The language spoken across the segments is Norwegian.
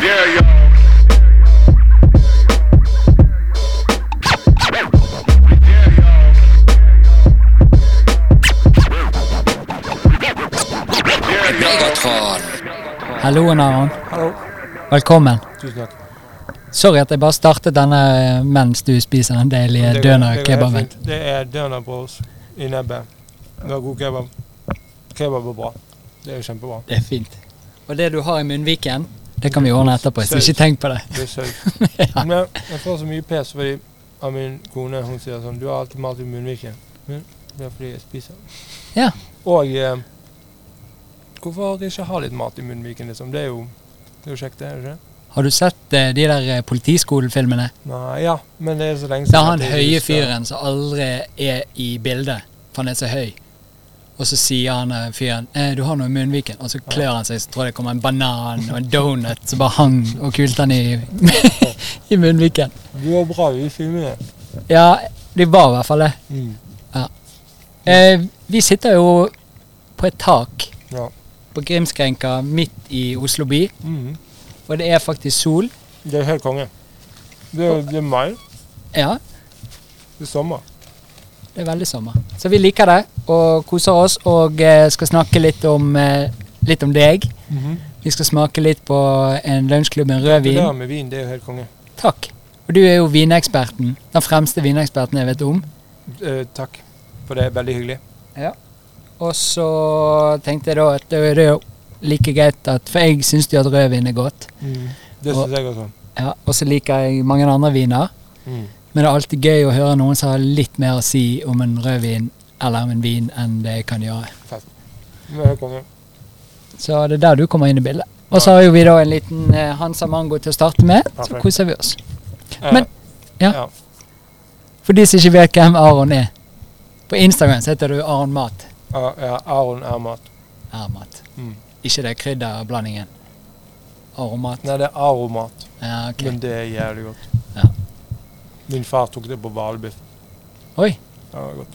Yeah, yo. Megatron. Hallo, Naran. Hallo. Velkommen. Tusen takk. Sorry at jeg bare startet denne eh, mens du spiser den deilige Det går- det går helt døner-kebaben. fint. Det er døner på oss i nebbet. Vi har god kebab. Kebab er bra. Det er jo kjempebra. Det er fint. Og det du har i munnviken, det kan vi ordne etterpå. Så Saus. ikke tenk på det. Det er saus. Men jeg får så mye pes fordi av min kone hun sier sånn Du har alltid mat i munnviken. Men det er fordi jeg spiser. Ja. Og eh, hvorfor ikke ha litt mat i munnviken, liksom? Det er jo, det er jo kjekt, det, er det ikke? Har du sett eh, de der eh, politiskolefilmene? Nei, ja. Men det er eh, så lenge Det er han at jeg høye husker. fyren som aldri er i bildet, for han er så høy. Og så sier han eh, fyren eh, 'du har noe i munnviken', og så klør han seg, så tror jeg det kommer en banan og en donut som bare hang og kulte han i, i munnviken. Du var bra i filmene. Ja, de var i hvert fall det. Mm. Eh, vi sitter jo på et tak Ja. på Grimskrenka midt i Oslo by, Mhm. og det er faktisk sol. Det er helt konge. Det er, det er mai. Ja, Det er sommer. det er veldig sommer. Så vi liker det og koser oss og eh, skal snakke litt om, eh, litt om deg. Vi skal smake litt på en lunsjklubb med rød Det der vin. med vin, det er jo helt konge. Takk. Og du er jo vineksperten. Den fremste vineksperten jeg vet om. Eh, takk, for det er veldig hyggelig. Og så tenkte jeg da at det er jo like greit at For jeg syns jo at rødvin er godt. Det Og- syns jeg også. Ja, og så liker jeg mange andre viner. Mm. Men det er alltid gøy å høre noen som har litt mer å si om en rødvin eller om en vin enn det jeg kan gjøre. Det er helt konge. Så det er der du kommer inn i bildet. Og så har jo vi da en liten eh, Hansa Mango til å starte med. Så Perfekt. koser vi oss. Eh, Men- ja. ja. For de som ikke vet hvem Aron er. På Instagram så heter du Aron Mat. ah, ja, Aron er mat. Er mat. Mm. Ikke det krydderblandingen. Aromat. Nei, det er aromat, Ja, ok. men det er jævlig godt. Ja. Min far tok det på hvalbiff. Oi. Det var godt.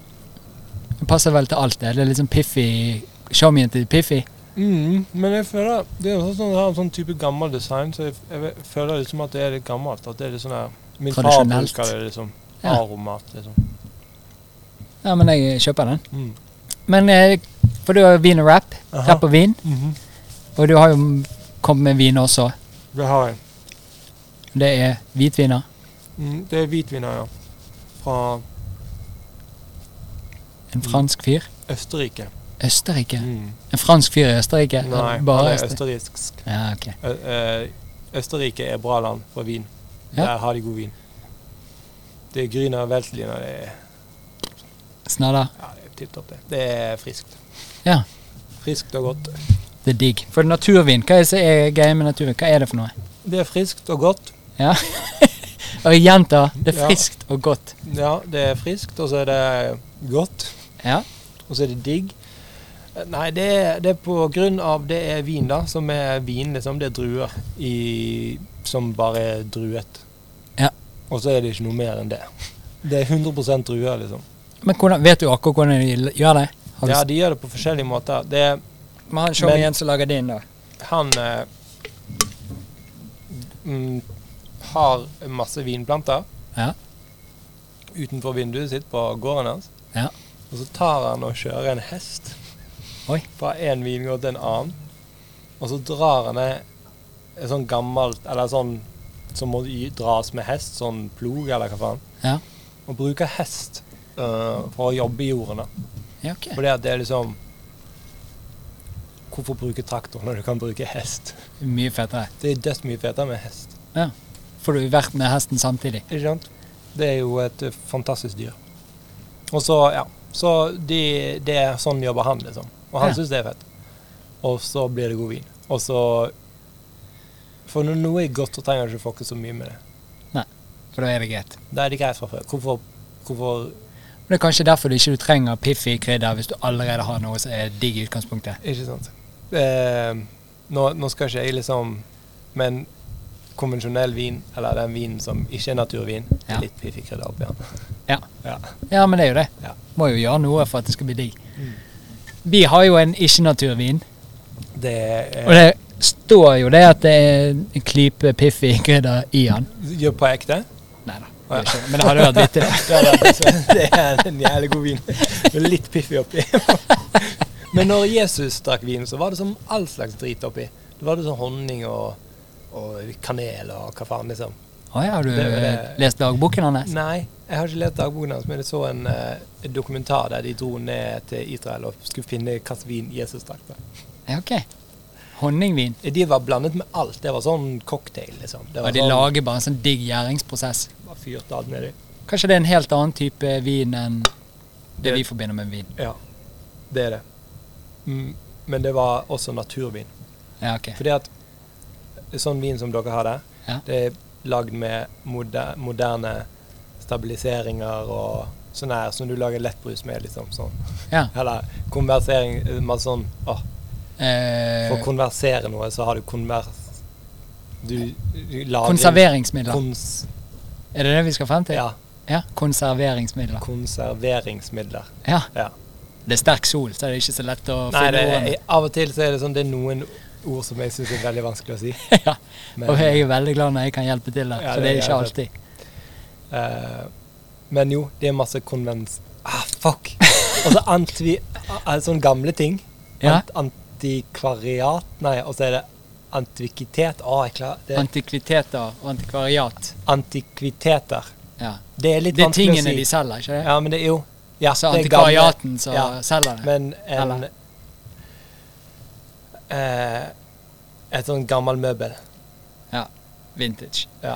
Det passer vel til alt det. Det er litt sånn Piffi. Showmien til Piffi. Mm, men jeg føler Det er også sånn, det har en sånn type gammel design, så jeg, jeg ve- føler liksom at det er litt gammelt. At det er litt sånn her Min far Tradisjonelt. bruker det liksom. Ja. Aromat, liksom. Ja, men jeg kjøper den. Mm. Men eh, for du har vin og rap. Aha. Rapp og vin. Mhm. Og du har jo kommet med vin også. Det har jeg. Det er hvitviner. Mm, det er hvitviner, ja. Fra En fransk fyr. Østerrike. Østerrike. Mm. En fransk fyr i Østerrike? Nei, Bare han er Øster- østerriksk. Ja, ok. Ø- ø, Østerrike er bra land for vin. Ja. Der har de god vin. Det er Grüner Weltliner. Det er, Snadda. ja, det er tipp topp, det. Det er friskt. Ja. Friskt og godt. Det er digg. For naturvin, hva er det som er greia med naturvin? Hva er det for noe? Det er friskt og godt. Og jeg gjentar, det er Ja. friskt og godt. Ja, det er friskt, og så er det godt. Ja. Og så er det digg. Nei, det er, det er på grunn av det er vin, da, som er vin, liksom. Det er druer i, som bare er druet. Ja. Og så er det ikke noe mer enn det. Det er 100 druer, liksom. Men hvordan, vet du akkurat hvordan de gjør det? Har du Ja, ja, de gjør det på forskjellige måter. Det er Men han showman igjen som lager din, da. han eh, mm, har masse vinplanter Ja. utenfor vinduet sitt på gården hans. Ja. Og så tar han og kjører en hest Oi. fra én vingård til en annen. Og så drar han ned et sånn gammelt Eller sånn som må y- dras med hest, sånn plog eller hva faen. Ja. Og bruker hest eh, for å jobbe i jorden. da. Ja, ok. Fordi at det er liksom Hvorfor bruke traktor når du kan bruke hest? Mye fetere. Det er dødt mye fetere med hest. Får du vært med hesten samtidig? Ikke sant? Det er jo et eh, fantastisk dyr. Og så, ja. Så de, det er sånn jobber han, liksom. Og han Ja. synes syns det er fett. Og så blir det god vin. Og så For når noe er godt, så trenger du ikke fucke så mye med det. For da er det greit. Da er det greit fra før. Hvorfor, hvorfor Men det er kanskje derfor du ikke trenger Piffi krydder hvis du allerede har noe som er digg i utgangspunktet. Ikke sant. Eh, nå, nå skal ikke jeg liksom Men konvensjonell vin, eller den vinen som ikke er naturvin, Ja. litt piffig krydder oppi den. Ja. Ja. Ja, Mm. men det er jo det. Ja. Må jo gjøre noe for at det skal bli digg. Vi har jo en ikke-naturvin, Det og er det er står jo det at det er en klype Piffi krydder i han. Gjør på ekte? Nei da, det Å, ja. er ikke det. men det hadde vært vittig. det. Ja, det, er, det er en jævlig god vin. Med litt piffi oppi. Men når Jesus drakk vin, så var det som all slags drit oppi. Det var det sånn honning og, og kanel og hva faen, liksom. Å ja, har du Det er vel, eh, lest dagboken hans? Nei, jeg har ikke lest dagboken hans, men jeg så en eh, en dokumentar der de dro ned til Israel og skulle finne hva slags vin Jesus drakk. da. Ja, ok. Honningvin. De var blandet med alt. Det var sånn cocktail, liksom. Det Og var de sånn, lager bare en sånn digg gjæringsprosess. bare fyrte alt nedi. Kanskje det er en helt annen type vin enn det vi forbinder med vin. Ja, det er det. Mm, men det var også naturvin. Ja, ok. Fordi at sånn vin som dere har der, Ja. det er lagd med moder moderne stabiliseringer og sånn her som du lager lettbrus med, liksom. sånn. Ja. Eller konversering eh, med sånn åh, For å Eh, konversere noe, så har du konvers... Du, du lager konserveringsmidler. Kons, Er det det vi skal frem til? ja. Ja, Konserveringsmidler. Konserveringsmidler. Ja. Ja. Det er sterk sol, så det er ikke så lett å Nei, det, finne ordene. er- av og til så er det sånn det er noen ord som jeg syns er veldig vanskelig å si. ja. Men, Og jeg er veldig glad når jeg kan hjelpe til der, Ja, for det det er er ikke jævlig. alltid. eh, men jo, det er masse konvens... Ah, fuck! Og så anti... ah, Sånne gamle ting. Ja. Ant, antikvariat Nei, og så er det antikvitet. Å, jeg klarer det er Antikviteter og antikvariat. Antikviteter. Ja. Det er litt Det er vanskelig å tingene si. de selger, ikke det? Ja, men det er jo ja, Altså det er gamle- antikvariaten som ja. selger det. Men en Eller? eh, Et sånn gammel møbel. Vintage. Ja.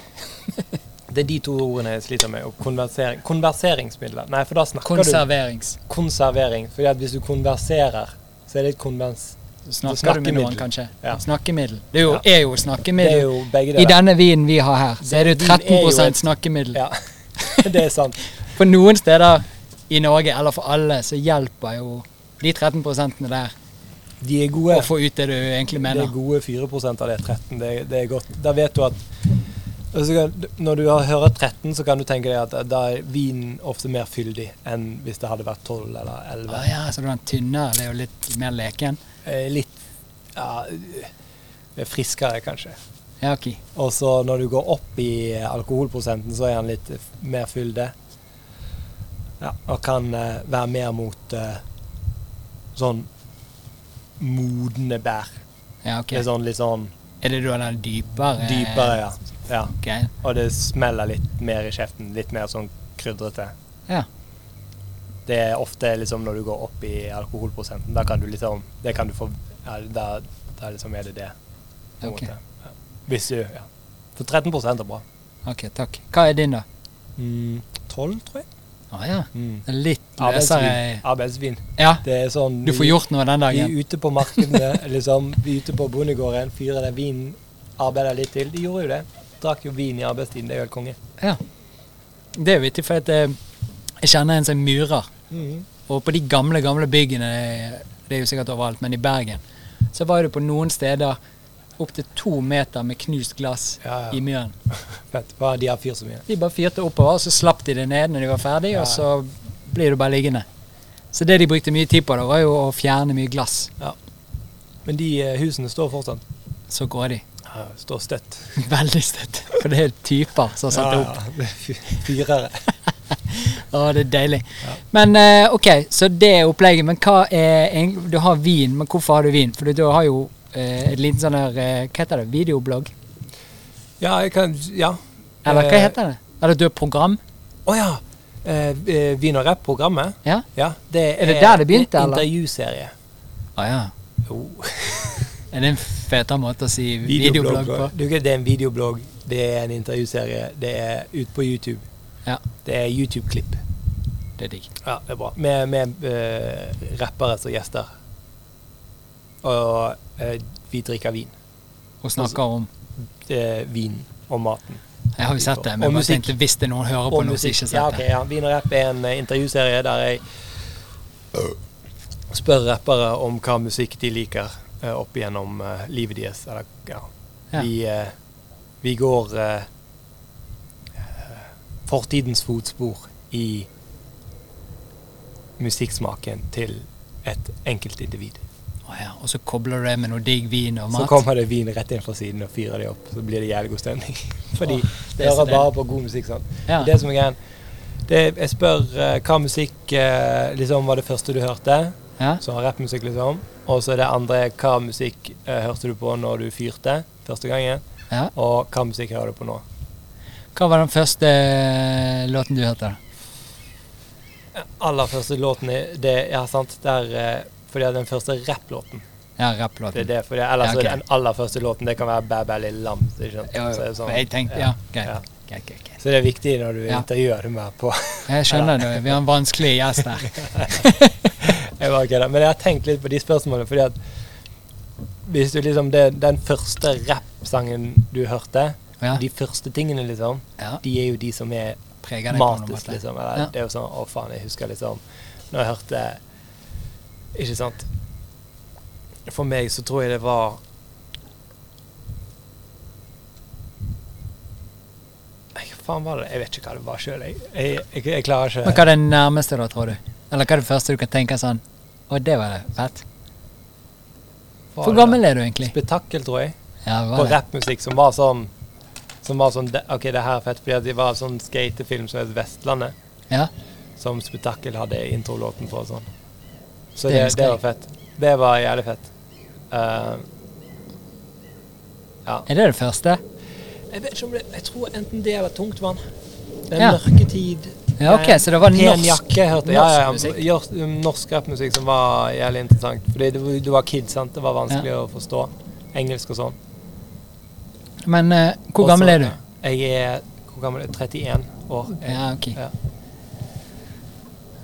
Det er de to ordene jeg sliter med. Og konversering. Konverseringsmidler. Nei, for da snakker Konserverings. du konservering. Fordi at hvis du konverserer, så er det et konvens... Så snakker du med noen, Snakkemiddel. kanskje? Ja. Snakkemiddel. Det er jo, er jo Det er snakkemiddel. jo I begge deler. denne vinen vi har her, så er det jo Den vinen er jo 13 et- snakkemiddel. Ja. det er sant. På noen steder i Norge, eller for alle, så hjelper jo de 13 der De er å gode. få ut det du egentlig Det mener. er gode 4 av det 13. Det, det er godt. Da vet du at og så kan, Når du har- hører 13, så kan du tenke deg at da er vinen ofte mer fyldig enn hvis det hadde vært 12 eller 11. Å ja, så du har den tynnere, det er jo litt mer leken. Eh, Litt ja, eh, friskere, kanskje. Ja, ok. Og så når du går opp i alkoholprosenten, så er den litt f- mer fyldig. Ja, og kan eh, være mer mot eh, sånn modne bær. Ja, ok. Det er sånn litt sånn Er det da den dypere dypere, ja. ja. greien? Og det smeller litt mer i kjeften. Litt mer sånn krydrete. Ja. Det er ofte liksom når du går opp i alkoholprosenten. Da kan du liksom Det kan du få ja, Da, da liksom er det det. på en Ok. måte. Ja. Hvis du Ja. For 13 er bra. Ok, takk. Hva er din, da? 12, tror jeg. Å ja. Mm. Det er Litt Arbeidsvin. løsere Arbeidsvin. Ja, Det er sånn du får vi- gjort noe den Vi dagen. er ute på markedene, liksom. Vi er ute på bondegården, fyrer den vinen, arbeider litt til. De gjorde jo det. Drakk jo vin i arbeidstiden. Det er jo helt konge. Ja. Det er jo vittig, for at eh, jeg kjenner en som er murer. Mm. Og på de gamle, gamle byggene, det er jo sikkert overalt, men i Bergen, så var det på noen steder opptil to meter med knust glass Ja, i ja. myren. Fett. Hva, de har fyrt så mye. De bare fyrte oppover, og så slapp de det ned når de var ferdig, Ja. og så blir du bare liggende. Så det de brukte mye tid på, da, var jo å fjerne mye glass. Men de eh, husene står fortsatt. Så går de. Ja, står støtt. Veldig støtt. For det er typer som har satt det opp. Ja, ja. Fyrere. Å, det er deilig. Men eh, ok, så det er opplegget. Men hva er egentlig- Du har vin, men hvorfor har du vin? For du har jo eh, et liten sånn her eh, Hva heter det? Videoblogg? Ja, jeg kan Ja. Eller hva Eh, heter det? Eller du har program? Å ja! Eh, eh, Vin og rap-programmet. Ja? Ja, det Er det der det begynte, en eller? Intervjuserie. Å ja. Jo. Er det en fetere måte å si videoblogg på? Du, det er en videoblogg, det er en intervjuserie, det er ut på YouTube. Ja. Det er YouTube-klipp. Det er digg. Ja, det er bra. Med, med eh, rappere som gjester. Og eh, vi drikker vin. Og snakker om Eh, vin og maten. Jeg har jo sett det, men jeg Og bare musikk. tenkte hvis det er noen hører på Og noe som musikk. ikke har ja, sett ok, det. ja. Vin og rapp er en eh, intervjuserie der jeg spør rappere om hva musikk de liker eh, opp gjennom eh, livet deres. Eller, ja. Ja. Vi, eh, vi går eh, eh, fortidens fotspor i musikksmaken til et enkeltindivid. Å Å ja. Og så kobler du det med noe digg vin og Så mat. kommer det vin rett inn fra siden og fyrer de opp. Så blir det jævlig god stemning. Fordi Åh, det det er så hører bare deilig. på god musikk. sant? Ja. Det som er greien det, Jeg spør eh, hva musikk eh, liksom var det første du hørte, Ja. som var rappmusikk, liksom. Og så det andre hva musikk eh, hørte du på når du fyrte første gangen, Ja. og hva musikk hører du på nå? Hva var den første eh, låten du hørte? da? Aller første låten i- det, Ja, sant. Der, eh, fordi at den første rapplåten. Ja, Det er rapplåten. det, fordi ellers Ja, så er ok. den aller første låten det kan være Bæ Bæ Lille Lam. Ikke sant? Jo, Så, jo. er det sånn. Men Jeg tenkte, ja, greit. Ja. Greit, greit, greit. så det er viktig når du Ja. intervjuer dem her på Jeg skjønner det. Vi har en vanskelig gjest her. Jeg bare kødder. Men jeg har tenkt litt på de spørsmålene, fordi at hvis du liksom det, Den første rappsangen du hørte, Ja. de første tingene, liksom, Ja. de er jo de som er Preger deg på noen matis, måte. liksom. Eller, Ja. Det er jo sånn Å, faen, jeg husker liksom Når jeg hørte Ikke sant? For meg så tror jeg det var Nei, Hva faen var det? Jeg vet ikke hva det var sjøl. Jeg, jeg, jeg, jeg klarer Men ikke hva er det nærmeste da, tror du? Eller hva er det første du kan tenke sånn Å, det var fett. Hva Hvor var det? gammel er du egentlig? Spetakkel, tror jeg. Ja, hva på er det? rappmusikk som var sånn Som var sånn de- OK, det her er fett, fordi at det var sånn skatefilm som het Vestlandet, Ja. som Spetakkel hadde introlåten på og sånn. Så Det det, det, husker jeg. var fett. Det var jævlig fett. Eh, Er det det første? jeg vet ikke om det Jeg tror enten det eller Tungtvann. Den Ja. mørke tid. Ja, ok, eh, så det var Pen norsk- jakke, hørte jeg. Ja, ja, norsk ja, musikk. jors- um, norsk rappmusikk som var jævlig interessant. Fordi du, du var kid, sant. Det var vanskelig å forstå engelsk og sånn. Men eh, hvor Og så- gammel er du? Jeg er hvor gammel, er jeg? 31 år. Ja, ok. Ja.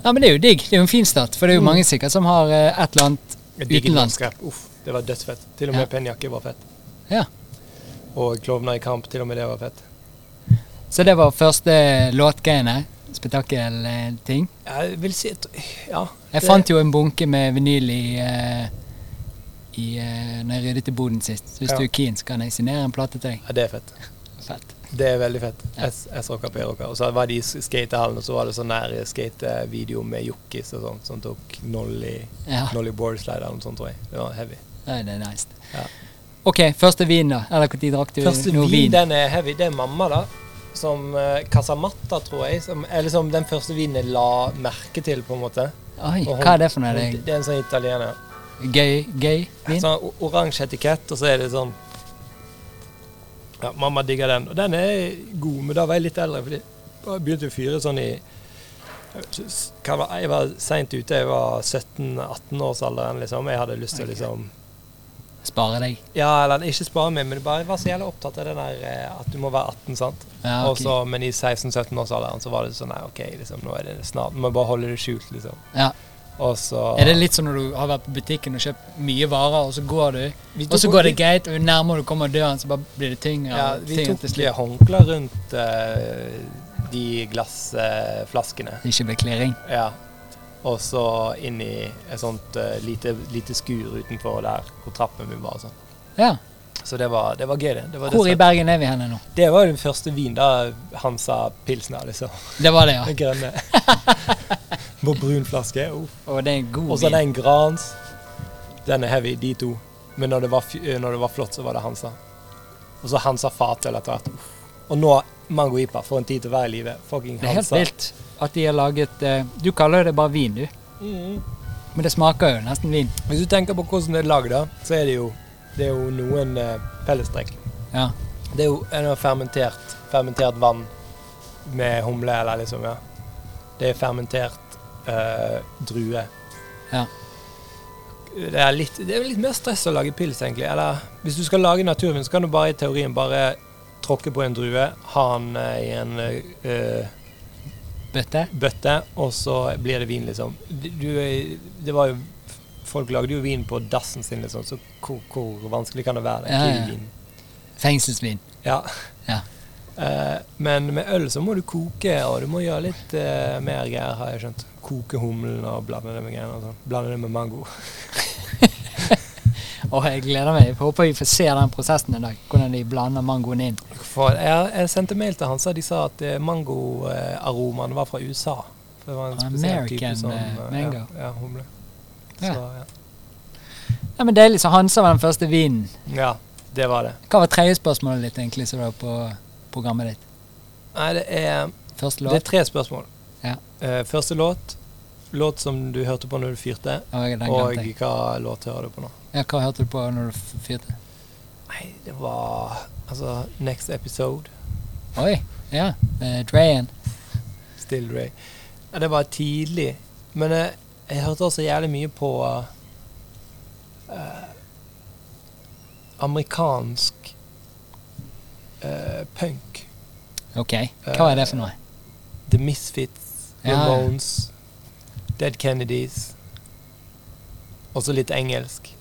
Ja, men det er jo digg. Det er jo en fin start. For det er Mm. jo mange sikkert som har eh, et eller annet Jeg digget Utenlandsk. norsk rap. Uff, det var dødsfett. Til og med Ja. penjakke var fett. Ja. Og klovner i kamp, til og med det var fett. Så det var første eh, låtgreiene. Spetakkelting. Jeg vil si at- Ja. Jeg fant jo en bunke med vinyl i, eh, i eh, Når jeg ryddet i boden sist. Så hvis Ja. du er keen, så kan jeg signere en plate til deg. Ja, det er fett. Fett. Det er veldig fett. Ja. S- S-rocker, P-rocker. Og så var de i s- skatehallen, og så var det sånn der skatevideo med jokkis og sånn, som tok nolly, Ja. nolly board slide eller noe sånt, tror jeg. Det var heavy. Nei, det er nice. Ja. Ok, første vin, da. Eller når drakk du Første noe vin, den er heavy. Det er mamma, da. Som eh, Casamatta, tror jeg. Som, eller som den første vinen jeg la merke til, på en måte. Oi, Og hun- hva er det for noe? hun- Det Det er en sånn italiener. er gøy, gøy vin? Sånn o- oransje etikett, og så er det sånn Ja, mamma digger den. Og den er god, men da var jeg litt eldre, fordi jeg begynte å fyre sånn i jeg vet ikke, s- hva var- Jeg var seint ute, jeg var 17-18-årsalderen, liksom. Jeg hadde lyst til å liksom Spare deg. Ja, eller ikke spare meg, men bare jeg var så jævlig opptatt av det der eh, at du må være 18, sant. Ja, Og Ah, ok. så, men i 16-17-årsalderen så var det sånn Nei, OK, liksom, nå er det snart Du må bare holde det skjult, liksom. Ja. Og så Er det litt som når du har vært på butikken og kjøpt mye varer, og så går du, Vi og så tok- går det vi- greit, og jo nærmere du kommer døren, så bare blir det tyngre Ja, og vi tyngre til tok slutt. håndklær rundt eh, de glassflaskene. Ikke blir klirring. ja. Og så inn i et sånt eh, lite, lite skur utenfor der hvor trappen min var. og Sånn. Ja. Så det var, det var gøy, det. Det var, Hvor i dessverre- Bergen er vi henne nå? det var jo den første vin da Hansa Pilsner, liksom. Det var det, ja. Den grønne. På brun flaske. oh. Og det er en god Og vin. så den Grans. Den er heavy, de to. Men når det var, fy- når det var flott, så var det Hansa. Og så Hansa Fatøl etter hvert. Uff. Og nå Mango Ipa. For en tid til å være i live. Fucking Det er helt Hansa. vilt at de har laget eh, Du kaller jo det bare vin, du. Mhm. Men det smaker jo nesten vin. Hvis du tenker på hvordan det er lagd, da, så er det jo, det er jo noen eh, fellestrekk. Ja. Det er jo en av fermentert, fermentert vann med humle, eller liksom, ja. Det er fermentert eh, drue. Ja. Det er, litt, det er jo litt mer stress å lage pils, egentlig. Eller hvis du skal lage naturvin, så kan du bare i teorien bare tråkke på en drue, ha den eh, i en eh, Bøtte. bøtte, og så blir det vin, liksom. Du, du- det var jo Folk lagde jo vin på dassen sin, liksom, så hvor, hvor vanskelig kan det være? Det er Ja, ikke ja. vin. Fengselsvin. Ja. Ja. Eh, men med øl så må du koke, og du må gjøre litt eh, mer greier, har jeg skjønt. Koke humlen og blande det med greier og sånn. Blande det med mango. Og jeg gleder meg. Jeg håper vi får se den prosessen en dag. Hvordan de blander mangoen inn. For jeg, jeg sendte mail til han, så de sa at eh, mangoaromaen var fra USA. For det var en spesiell American, type sånn eh, eh, mango. Ja, ja humle. Ja. Så, ja. Ja, men Deilig. Så Hansa var den første vinen. Ja, det var det. Hva var tredje spørsmålet ditt egentlig som var på programmet ditt? Nei, det er, Første det er låt? tre spørsmål. Ja. Eh, første låt. Låt som du hørte på når du fyrte. Å, jeg- den Og glemte jeg. hva låt hører du på nå? Ja, hva hørte du på når du f- fyrte? Nei, det var Altså, Next Episode, Oi. Ja. eh, Dreyen. Still Ray. Ja, det var tidlig. Men eh, jeg hørte også jævlig mye på eh, Amerikansk eh, punk. Ok. Hva er det for noe? The Misfits, Ja, ja. Ramones, Dead Kennedys. Også litt engelsk.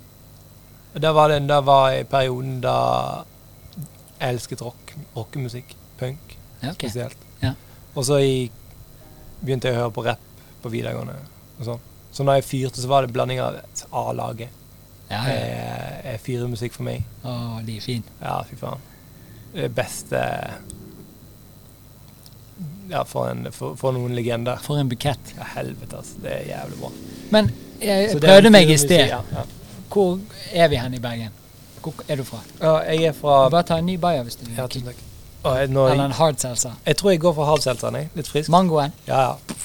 Og Da var det da var jeg i perioden da jeg elsket rock, rockemusikk. Punk Ja, ok. spesielt. Ja. Og så i- begynte jeg å høre på rapp på videregående. og sånn. Så når jeg fyrte, så var det blanding av A-laget. Ah, Ja, ja. Eh, eh, Fyremusikk for meg. Å, de er fine. Ja, fy faen. Det beste Ja, for, en, for, for noen legender. For en bukett. Ja, helvete, altså. Det er jævlig bra. Men jeg Så det er prøvde en meg i fyr- sted. Ja, ja. Hvor er vi hen i Bergen? Hvor er du fra? Ja, jeg er fra Bare ta en ny bayer hvis du vil. ja, tusen takk. Å, jeg, nå, Eller en hard salsa. jeg tror jeg går for hardselgeren, jeg. Litt frisk. Mangoen. Ja, ja.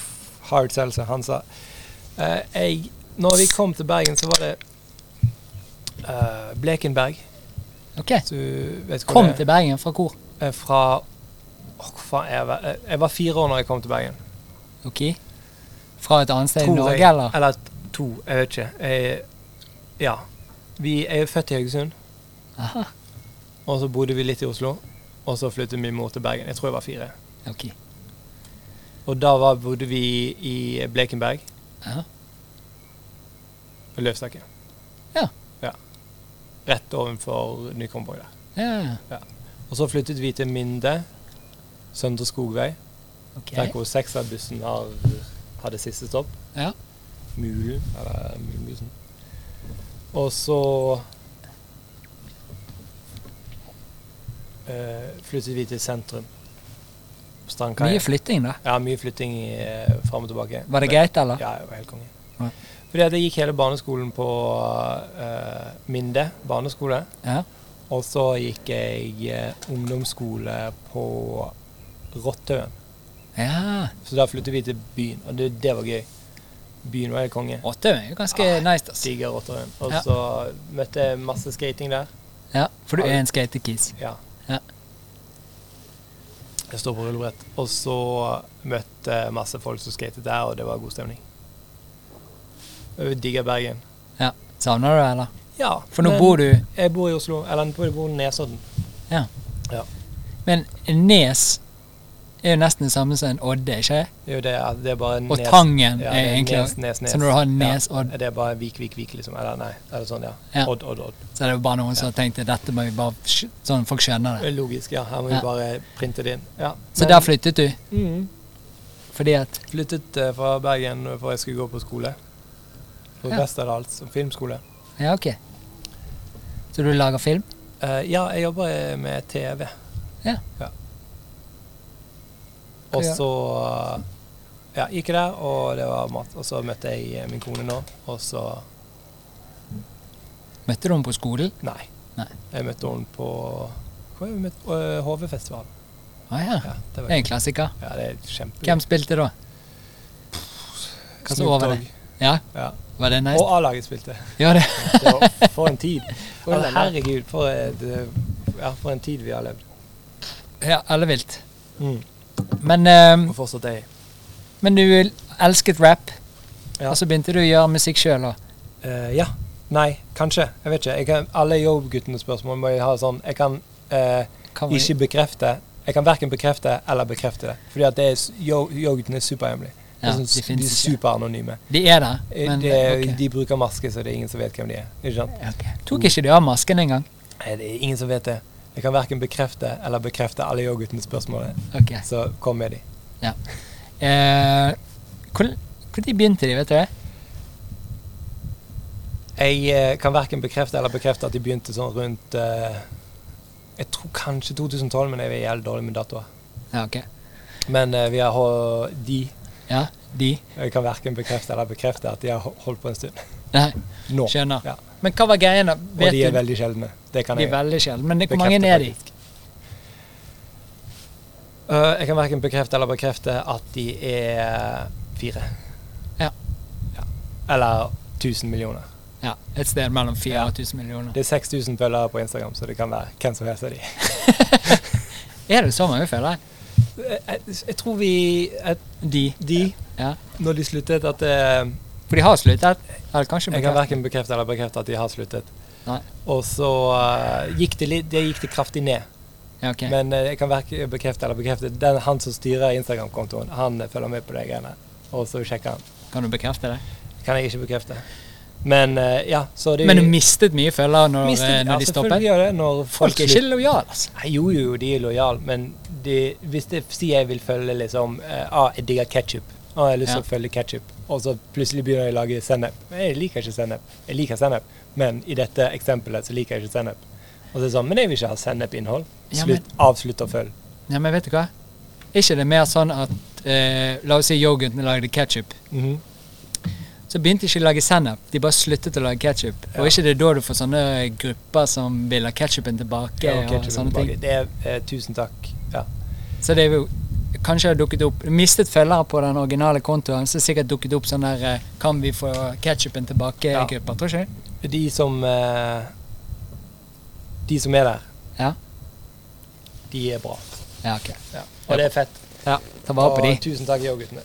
Hard seltzer, han sa. Eh, jeg, når vi kom til Bergen, så var det eh, Blekenberg. Ok. Så du vet hvor Kom det til Bergen fra hvor? er. Eh, Fra Åh, hvor faen er jeg, var- eh, jeg var fire år når jeg kom til Bergen. Ok. Fra et annet sted i Tror Norge, jeg. eller? Eller to, jeg vet ikke. Jeg, ja. Vi jeg er født i Haugesund, Aha. og så bodde vi litt i Oslo. Og så flyttet min mor til Bergen. Jeg tror jeg var fire. Ok. Og da var, bodde vi i Blekenberg. Aha. På Løvstakken. Ja. ja. Rett ovenfor Nykomborg der. Ja, ja. Og så flyttet vi til Minde, Søndre Skogvei, ok. der hvor sekserbussen har, hadde siste stopp. Ja. Mulen, eller Mulenbussen. Og så eh, flyttet vi til sentrum. Mye På Strandkaia. flytting, da. Ja, mye flytting i, eh, fram og tilbake. Var det Men- greit, eller? Ja, jeg var helt konge. Ja. Fordi at jeg gikk hele barneskolen på eh, Minde barneskole. Ja. Og så gikk jeg eh, ungdomsskole på Rottøen. ja. Så da flyttet vi til byen, og det, det var gøy. Byen var helt konge. Åtte er jo ganske Ja. nice, ass. Digger Rottøen. Og Ja. så møtte jeg masse skating der. Ja, for du er en skatekis. Ja. Ja. Jeg står på rullebrett. Og så møtte jeg masse folk som skatet der, og det var god stemning. Jeg digger Bergen. Ja. Savner du det, eller? Ja. For nå men bor du Jeg bor i Oslo. Eller jeg bor i Nesodden. Men Nes er jo nesten det samme som en odde, ikke det? Det er jo det, det er bare Og nes- Tangen ja, er det egentlig nes, nes, nes. Så når du har Ja. Nesodd, Er Det er bare vik, vik, vik, liksom. Eller nei, eller sånn, ja. Ja. Odd, odd, odd. så er det jo bare noen som har tenkt at dette må vi bare sk- Sånn folk skjønner det. Logisk, ja. Her må Ja. vi bare printe det inn. Ja. Så der flyttet du? Mhm. Fordi at Flyttet eh, fra Bergen for jeg skulle gå på skole. På Ja. Westerdals filmskole. Ja, ok. Så du lager film? Eh, ja, jeg jobber eh, med TV. Ja. Og Ja. så eh, ja, gikk jeg der, og det var mat. Og så møtte jeg eh, min kone nå, og så Møtte du henne på skolen? Nei. Nei. Jeg møtte henne på Hvor er vi møtt? Eh, HV-festivalen. Å Ah, ja. Ja, det Det er en klassiker. Ja, det er kjempegøy. Hvem spilte da? Hva som Snoop over det? Dogg. Ja, Ja. var det nice? Og A-laget spilte. Ja, det. Det var for en tid. Å, la, Altså, la. herregud, for, et, eh, ja, for en tid vi har levd. Ja, ellevilt. Mm. Men, ehm, Og fortsatt er jeg. men du elsket rap, Ja. og så begynte du å gjøre musikk sjøl òg. Eh, ja. Nei, kanskje. Jeg vet ikke. Jeg kan, alle jobbguttenes spørsmål må jeg ha sånn Jeg kan eh, ikke bekrefte Jeg kan verken bekrefte eller bekrefte det. Fordi at det er s- yo- jobbguttene er superhemmelige. Det Ja, er sånn de s- de, finnes er ikke. superanonyme. De er der, Eh, men det, er- ok. De bruker maske, så det er ingen som vet hvem de er. Ikke sant? Ok. Tok ikke de av masken engang? Nei, det er ingen som vet det. Jeg kan verken bekrefte eller bekrefte alle jobbguttenes spørsmål. Ok. Så kom med de. Eh, hvor- Når de begynte de, vet du det? Jeg eh, kan verken bekrefte eller bekrefte at de begynte sånn rundt eh, Jeg tror kanskje 2012, men jeg er jævlig dårlig med datoer. Ja, ok. Men eh, vi har hå- de Ja, de. Jeg kan verken bekrefte eller bekrefte at de har ho- holdt på en stund. Nei, Nå. skjønner. Ja. Men hva var greia? da? Og Vet de er du- veldig sjeldne. Det kan de jeg er veldig sjeldne. Men det, hvor mange bekrefte. er de? faktisk. Øh, jeg kan verken bekrefte eller bekrefte at de er fire. Ja. Ja. Eller 1000 millioner. Ja, Et sted mellom 4 Ja. og 1000 millioner. Det er 6000 følgere på Instagram, så det kan være hvem som helst av de. Er det så mange følgere? Jeg, jeg, Eh, jeg tror vi jeg, De. De, Ja. når de sluttet, at det For de har sluttet? Eller kanskje Jeg kan bekreftet? verken bekrefte eller bekrefte at de har sluttet. Nei. Og så eh, gikk det litt Det gikk det kraftig ned. Ja, ok. Men eh, jeg kan verken bekrefte eller bekrefte Den han som styrer Instagram-kontoen, han eh, følger med på de greiene. Og så sjekker han. Kan du bekrefte det? Kan jeg ikke bekrefte. Men eh, ja, så det Men du mistet mye følgere når, Mistet- eh, når ja, de selvfølgelig stoppet? gjør det når folk, Folk er ikke lojale, altså. Nei, Jo, jo, de er lojale, men de, hvis jeg sier jeg vil følge liksom eh, ah, Jeg digger ketsjup. Ah, jeg har lyst til Ja. å følge ketsjup. Og så plutselig begynner jeg å lage sennep. Men Jeg liker ikke sennep. Jeg liker sennep, men i dette eksempelet så liker jeg ikke sennep. Og så er det sånn Men jeg vil ikke ha sennepinnhold. Ja, Slutt, Avslutt å følge. Ja, men vet du hva? Er ikke det mer sånn at eh, La oss si yoghurten lagde ketsjup. Mhm. Så begynte de ikke å lage sennep. De bare sluttet å lage ketsjup. Ja. Og er ikke det da du får sånne eh, grupper som vil ha ketsjupen tilbake? Ja, og og ketchupen sånne ting. tilbake. Det er eh, Tusen takk. Ja. Så det er jo Kanskje har dukket opp Mistet følgere på den originale kontoen, så er det sikkert dukket opp sånn der eh, Kan vi få ketsjupen Ja. tilbake-grupper, tror ikke du? De som eh, De som er der, Ja. de er bra. Ja, ok. Ja. Og det er fett. Ja, Ta vare på de. Og tusen takk, yoghurtene.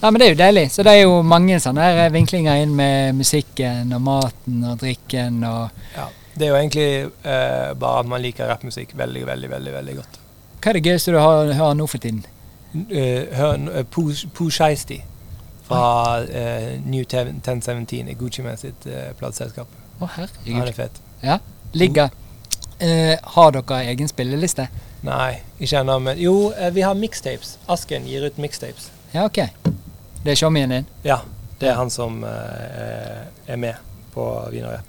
Ja, men det er jo deilig. Så det er jo mange sånne her eh, vinklinger inn med musikken og maten og drikken og Ja. Det er jo egentlig eh, bare at man liker rappmusikk veldig, veldig, veldig veldig godt. Hva er det gøyeste du har, hører nå for tiden? N- eh, hør n- eh, Pooh Pooh Shiesty fra eh, New Ten- 1017 i Gucci Man sitt uh, plateselskap. Å, Han herregud. er fet. Ligger eh, Har dere egen spilleliste? Nei, ikke ennå, men Jo, eh, vi har mixtapes. Asken gir ut mixtapes. Ja, OK. Det er showmien din? Ja, det er han som eh, er med på Wienerrap.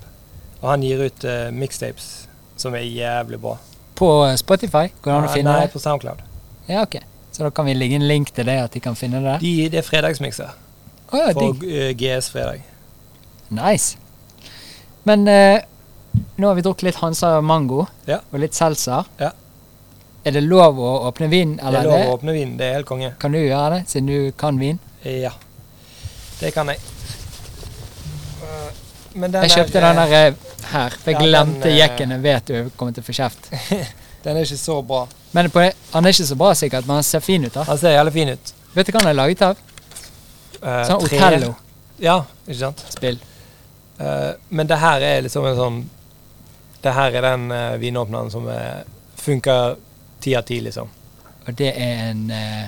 Og han gir ut eh, mixtapes som er jævlig bra. På eh, Spotify? Går det an å Ah, finne Nei, det? på SoundCloud. Ja, OK. Så da kan vi legge en link til det, at de kan finne det der? De, det er fredagsmikser Å ja, på digg. eh, GS Fredag. Nice. Men eh, nå har vi drukket litt Hansa mango Ja. og litt seltzer. Ja. Er det lov å åpne vin, Det eller? er er lov det- å åpne vinen. Det er helt konge. Kan du gjøre det, siden du kan vin? Ja. Det kan jeg. Eh, Men den Jeg kjøpte den er, der eh, her, for jeg ja, den, glemte eh, jekken. Jeg vet du kommer til å få kjeft. den er ikke så bra. Men på, han er ikke så bra sikkert, men han ser fin ut. da. Han ser jævlig fin ut. Vet du hva han er laget av? Eh, Sånn tre- Otello-spill. Ja, ikke sant. Eh, men det her er liksom en sånn Det her er den eh, vinåpneren som eh, funker ti av ti, liksom. Og det er en eh,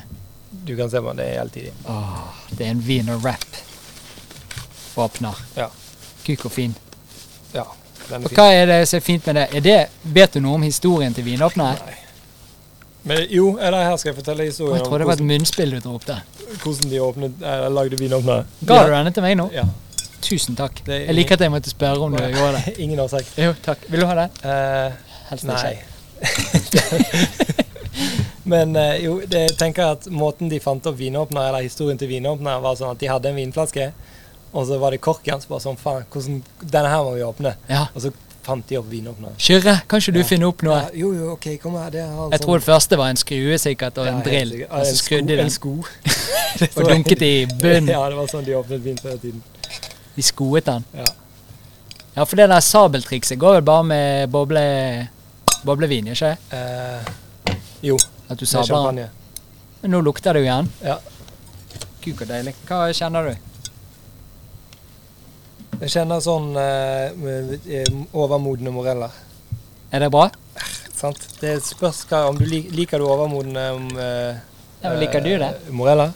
Du kan se på den, det er helt tidlig. åh, Det er en wienerwrap-åpner. Ja. Kuk og fin. Ja, den er Og fin. hva er det som er fint med det? Er det vet du noe om historien til vinåpnere? Nei. Men jo, eller her skal jeg fortelle Å, historien Jeg om tror det var et hvordan, munnspill du dro opp der. hvordan de åpnet, eller lagde vinåpnere. Ga du denne til meg nå? Ja. Tusen takk. Det er Jeg liker at jeg måtte spørre om du gjorde det. Ingen årsak. Jo, takk. Vil du ha den? Eh, Helst ikke. Nei. Men eh, jo, det, jeg tenker at måten de fant opp vinåpner, eller historien til vinåpner, var sånn at de hadde en vinflaske, og så var det korken som bare sånn Faen, hvordan, denne her må vi åpne. Ja. Og så fant de opp vinåpneren. Kyrre, kan ikke du Ja. finne opp noe? Ja, jo, jo, OK, kom her. Det har sånn- Jeg tror det første var en skrue sikkert, og Ja, en helt drill. sikkert. Ja, Og så en sko- skrudde de en den, sko. og dunket i bunnen. Ja, det var sånn de åpnet vin før i tiden. De skoet den. Ja. Ja, for det der sabeltrikset går vel bare med boble, boblevin, ikke det? Eh, jo, det At du er sabler den. champagne. Men Nå lukter det jo igjen. Ja. Kuk og deilig. Hva kjenner du? Jeg kjenner sånn eh, med- eh, overmodne moreller. Er det bra? Sant? Det spørs hva, om du lik, liker du overmodne om, eh, Ja, men liker du det? eh, Morella?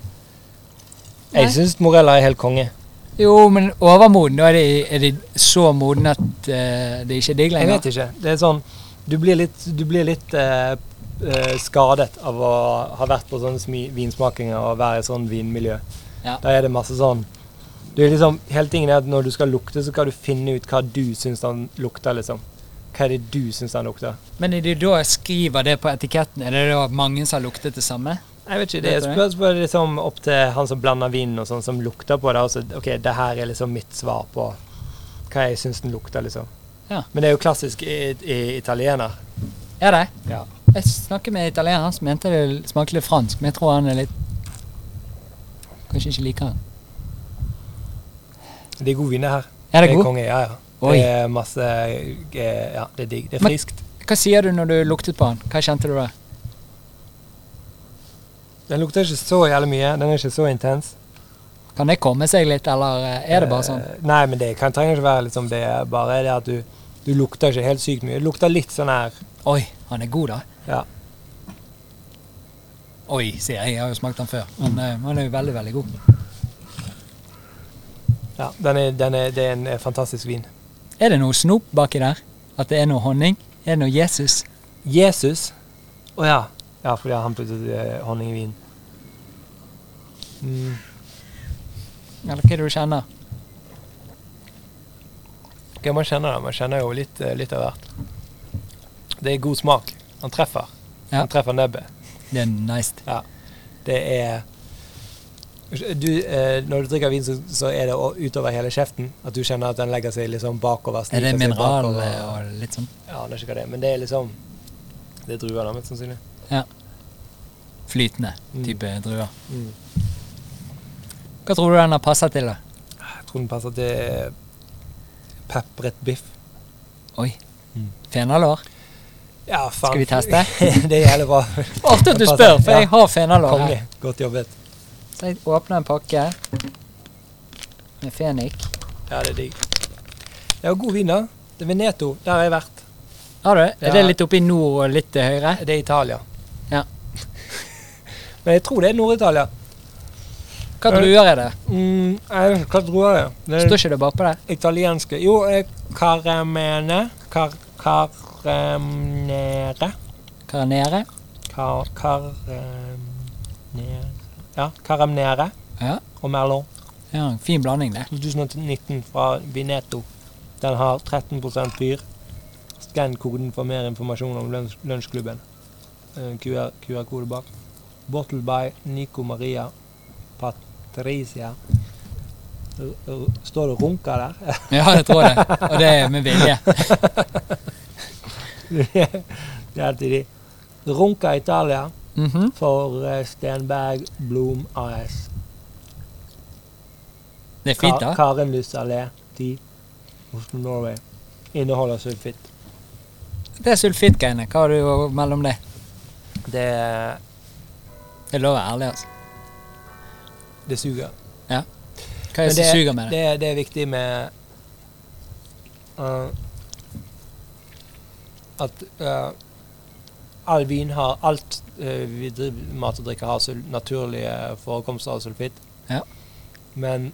Nei. Jeg syns Morella er helt konge. Jo, men overmoden, da er de, er de så modne at eh, det ikke er digg Jeg lenger. vet ikke. Det er sånn Du blir litt, du blir litt eh, eh, skadet av å ha vært på sånne smi, vinsmakinger og være i sånn vinmiljø. Ja. Der er det masse sånn det er liksom, Hele tingen er at når du skal lukte, så skal du finne ut hva du syns han lukter, liksom. Hva er det du syns han lukter? Men er de da skriver det på etiketten, er det da mange som har luktet det samme? Jeg vet ikke, det Vet du det? er spørsmål liksom Altså, opp til han som blander vin og sånn, som lukter på det. og så, ok, det her er liksom mitt svar på hva jeg syns den lukter, liksom. Ja. Men det er jo klassisk i, i italiener. Er det? Ja. Jeg snakker med italiener som mente det smakte litt fransk, men jeg tror han er litt Kanskje ikke liker den. Det er god viner her. Er det god? konge, ja, ja. Oi. Det er masse eh, Ja, det er digg. Det er Men- friskt. Hva sier du når du luktet på den? Hva kjente du da? Den lukter ikke så jævlig mye. Den er ikke så intens. Kan det komme seg litt, eller eh, er det bare sånn? Eh, Nei, men det kan, trenger ikke være liksom det. er Bare det at du, du lukter ikke helt sykt mye. Du lukter litt sånn her Oi, han er god, da. Ja. Oi, sier jeg. Jeg har jo smakt den før. Mm. Men eh, han er jo veldig, veldig god. Ja, den er, den er, det er en eh, fantastisk vin. Er det noe snop baki der? At det er noe honning? Er det noe Jesus? Jesus Å ja. Ja, fordi han puttet eh, honning i vinen. Mm. Eller hva er det du kjenner? Ja, man kjenner det. Man kjenner jo litt, eh, litt av hvert. Det er god smak. Han treffer. Ja. Han treffer nebbet. Det er nice. Det er du, eh, Når du drikker vin, så, så er det å- utover hele kjeften. At du kjenner at den legger seg liksom bakover. Er det sniker seg mineral bakover. og litt sånn Ja, det er ikke hva det er. Men det er liksom Det er druer, da, mest sannsynlig. flytende Mm. type druer? Hva tror du den har passet til, da? Jeg tror den passer til pepret biff. Oi. Mm. Fenalår? Ja, faen. Skal vi teste? det er jævlig bra. Artig at du Den passer. spør, for Ja. jeg har fenalår her. Konge. Godt jobbet. Så jeg åpner en pakke med fenik. Ja, det er digg. Ja, god vin, da. Det er Veneto. Der har jeg vært. Har du? Er Ja. det litt oppe i nord og litt til høyre? Det er Italia. Ja. Men jeg tror det er Nord-Italia. Hva druer er det? Mm, jeg vet ikke hva druer det er. Det er Står ikke det bakpå der? italienske Jo, eh, caramene Kar... Karamnere Karanere? Kar... Karamnere Ja, karamnere Ja. og merlot. Ja, en fin blanding, det. 2019 fra Vineto. Den har 13 fyr. Skann koden for mer informasjon om lunsj- lunsjklubben. Eh, QR QR-kode bak. Bottle by Nico Maria Patricia. R- r- Står det 'runka' der? Ja, det tror jeg. Og det er med vilje. det er alltid de. Runka Italia Mhm. for eh, Stenberg Blom AS. Det er fint, Ka- da. Karenlys allé 10, Oslo, Norway. Inneholder sulfitt. Det er sulfittgreiene. Hva har du mellom det? Det er Det er lov å være ærlig, altså. Det suger. Hva er det Men som suger med det? Det, er- det er viktig med eh, At eh, all vin har Alt eh, vi driver med mat og drikke, har sul naturlige forekomster av sulfitt. Ja. Men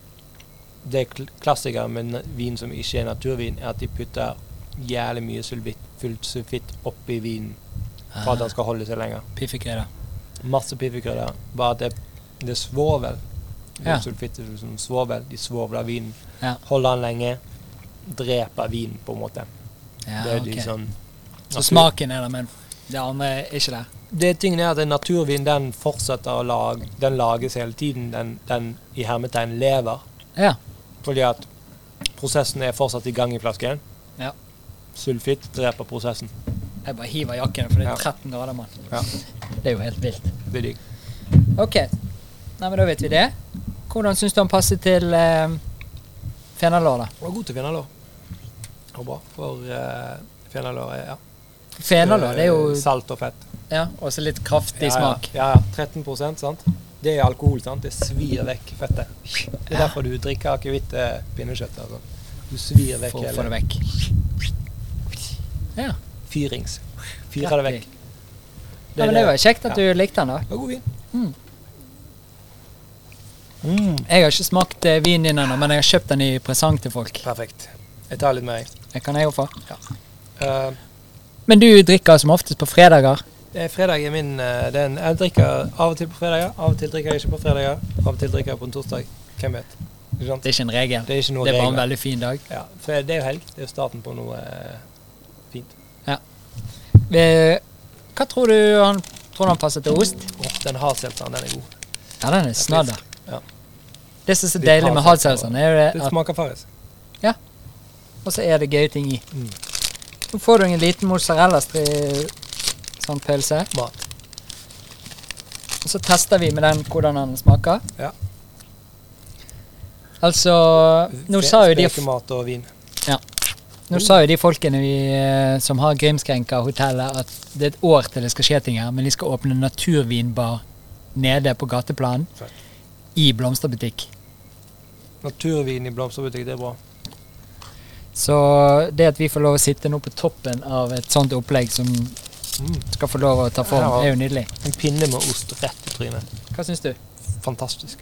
det kl klassikeren med na- vin som ikke er naturvin, er at de putter jævlig mye sulfitt, fullt sulfitt oppi vinen for at Ah, den skal holde seg lenger. Piffegreier. Masse piffikrydder. Bare at det, det er svovel. Det er Ja. Sulfitt er liksom svovel. De svovler vinen. Ja. Holder den lenge, dreper vinen, på en måte. det Ja, er de ok. sånn Så smaken er der, men det andre er ikke der. Det tingen er at en naturvin den fortsetter å lage Den lages hele tiden. Den, den i hermetegn lever. Ja. Fordi at prosessen er fortsatt i gang i flasken. Ja. Sulfitt dreper prosessen. Jeg bare hiver jakken, for det er Ja. 13 grader, mann. Ja. Det er jo helt vilt. Det er digg. Ok, Nei, men da vet vi det. Hvordan syns du han passer til eh, fenalår, da? Og god til fenalår. Og bra for uh, fenalår. er- Ja. Eh, Fenalår det er jo Salt og fett. ja, også litt kraftig Ja, smak. Ja, ja, ja. 13 sant? Det er alkohol, sant? Det svir vekk fettet. Det er derfor du drikker akevitt eh, pinnekjøtt. Altså. Du svir vekk For å få det hele vekk. Ja. Fyrings. Fyrer det vekk. kraftig. Ja, men det var kjekt at du likte den, da. Det var god vin. Mm. Mm. Jeg har ikke smakt eh, vinen din ennå, men jeg har kjøpt den i presang til folk. Perfekt. Jeg tar litt mer, jeg. Det kan jeg jo få. Eh, Men du drikker som oftest på fredager. det er fredag er min eh, det er en, Jeg drikker av og til på fredager, av og til drikker jeg ikke på fredager. Av og til drikker jeg på en torsdag. Hvem vet? Ikke sant? Det er ikke en regel. Det er ikke noe Det er bare en regler. veldig fin dag. Ja, for det er jo helg. Det er jo starten på noe eh, fint. Eh, Hva tror du han, tror du han passer til ost? Åh, den har selteren, den er god. Ja, den er snadder. Ja. Det som er så Litt deilig med hardseltzer. hardselgeren, er jo det Det at smaker farris. og så er det gøye ting i. Mm. Så får du en liten mozzarella-stri- sånn pølse. Mat. Og så tester vi med den hvordan den smaker. Ja. Altså Nå sa jo de, Spekemat og vin. nå sa jo de folkene vi, eh, som har Grimskrenka-hotellet, at det er et år til det skal skje ting her, men de skal åpne en naturvinbar nede på gateplanen Fett. i blomsterbutikk. Naturvin i blomsterbutikk, det er bra. Så det at vi får lov å sitte nå på toppen av et sånt opplegg som Mm. skal få lov å ta form, Ja. er jo nydelig. En pinne med ost rett i trynet. Hva syns du? Fantastisk.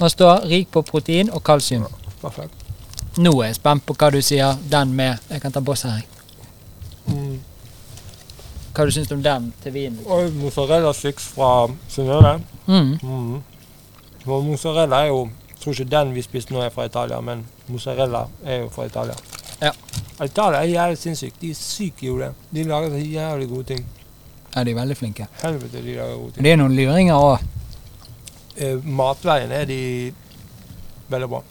Nå står rik på protein og kalsium. Perfekt. Nå er jeg spent på hva du sier. Den med Jeg kan ta boss her. jeg. Mm. Hva du syns om den til vinen? Og mozzarella sticks fra Synnøve. Mm. Mm. Og mozzarella er jo Jeg tror ikke den vi spiste nå er fra Italia, men mozzarella er jo fra Italia. Ja. Italia er jævlig sinnssykt. De er sykt gode. De lager så jævlig gode ting. Ja, de er veldig flinke. Helvete, de lager gode ting. Det er noen luringer òg. Eh, matveien er de veldig bra.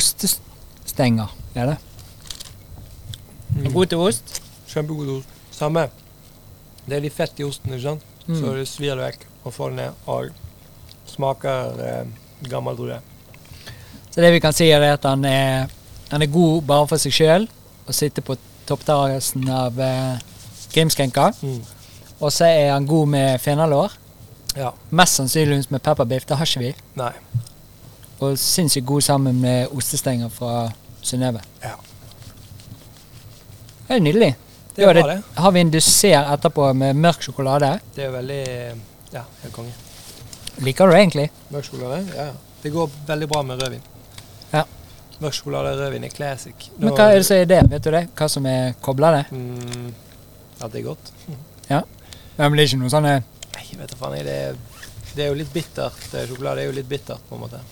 Ostestenger, er det? Mm. God til ost. Kjempegod ost. Samme. Det er litt fett i osten, ikke sant? Mm. Så det svir det vekk og får det ned og smaker eh, gammel drue. Så det vi kan si, er det at han er, han er god bare for seg sjøl, og sitter på toppterrassen av eh, Grimskenka. Mm. Og så er han god med fenalår. Ja. Mest sannsynligvis med pepperbiff, det har ikke vi. Nei. Og sinnssykt god sammen med ostestenger fra Synnøve. Ja. Det er nydelig. Det Ja, er bra, det. Har vi en dessert etterpå med mørk sjokolade? Det er veldig eh, Ja, helt konge. Liker du det egentlig? Mørk sjokolade? Ja. ja. Det går veldig bra med rødvin. Ja. Mørk sjokolade og rødvin er classic. Men Nå- hva er det som er det? Vet du det? Hva som er kobla det? Mm, at det er godt? Ja, men det er ikke noe sånn eh, Nei, vet du faen. jeg, Det er, det er jo litt bittert. Det er Sjokolade er jo litt bittert, på en måte.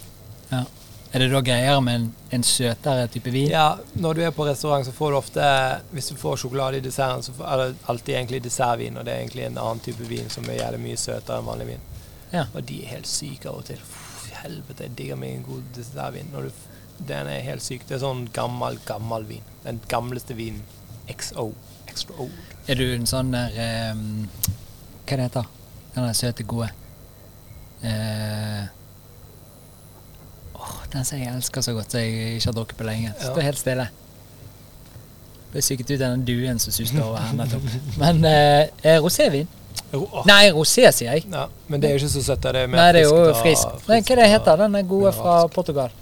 Er det da greier med en, en søtere type vin? Ja, Når du er på restaurant, så får du ofte Hvis du får sjokolade i desserten, så får- er det alltid egentlig dessertvin, og det er egentlig en annen type vin som er jævlig mye søtere enn vanlig vin. Ja. Og de er helt syke av og til. Fy, Helvete, jeg digger meg en god dessertvin. Når du, f- den er helt syk. Det er sånn gammel, gammel vin. Den gamleste vinen. XO. Extra old. Er du en sånn der eh, Hva det heter den der søte, gode eh, åh, Den som jeg elsker så godt, som jeg ikke har drukket på lenge. Ja. Står helt stille. Ble psyket ut av den duen som suste over her nettopp. Men eh, eh, rosévin? Ro- åh. Nei, rosé, sier jeg. Ja, men det er jo ikke så søtt. da. Det er mer Nei, det er jo friskt og- frisk. Nei, hva det og- heter den er gode fra mineralsk. Portugal?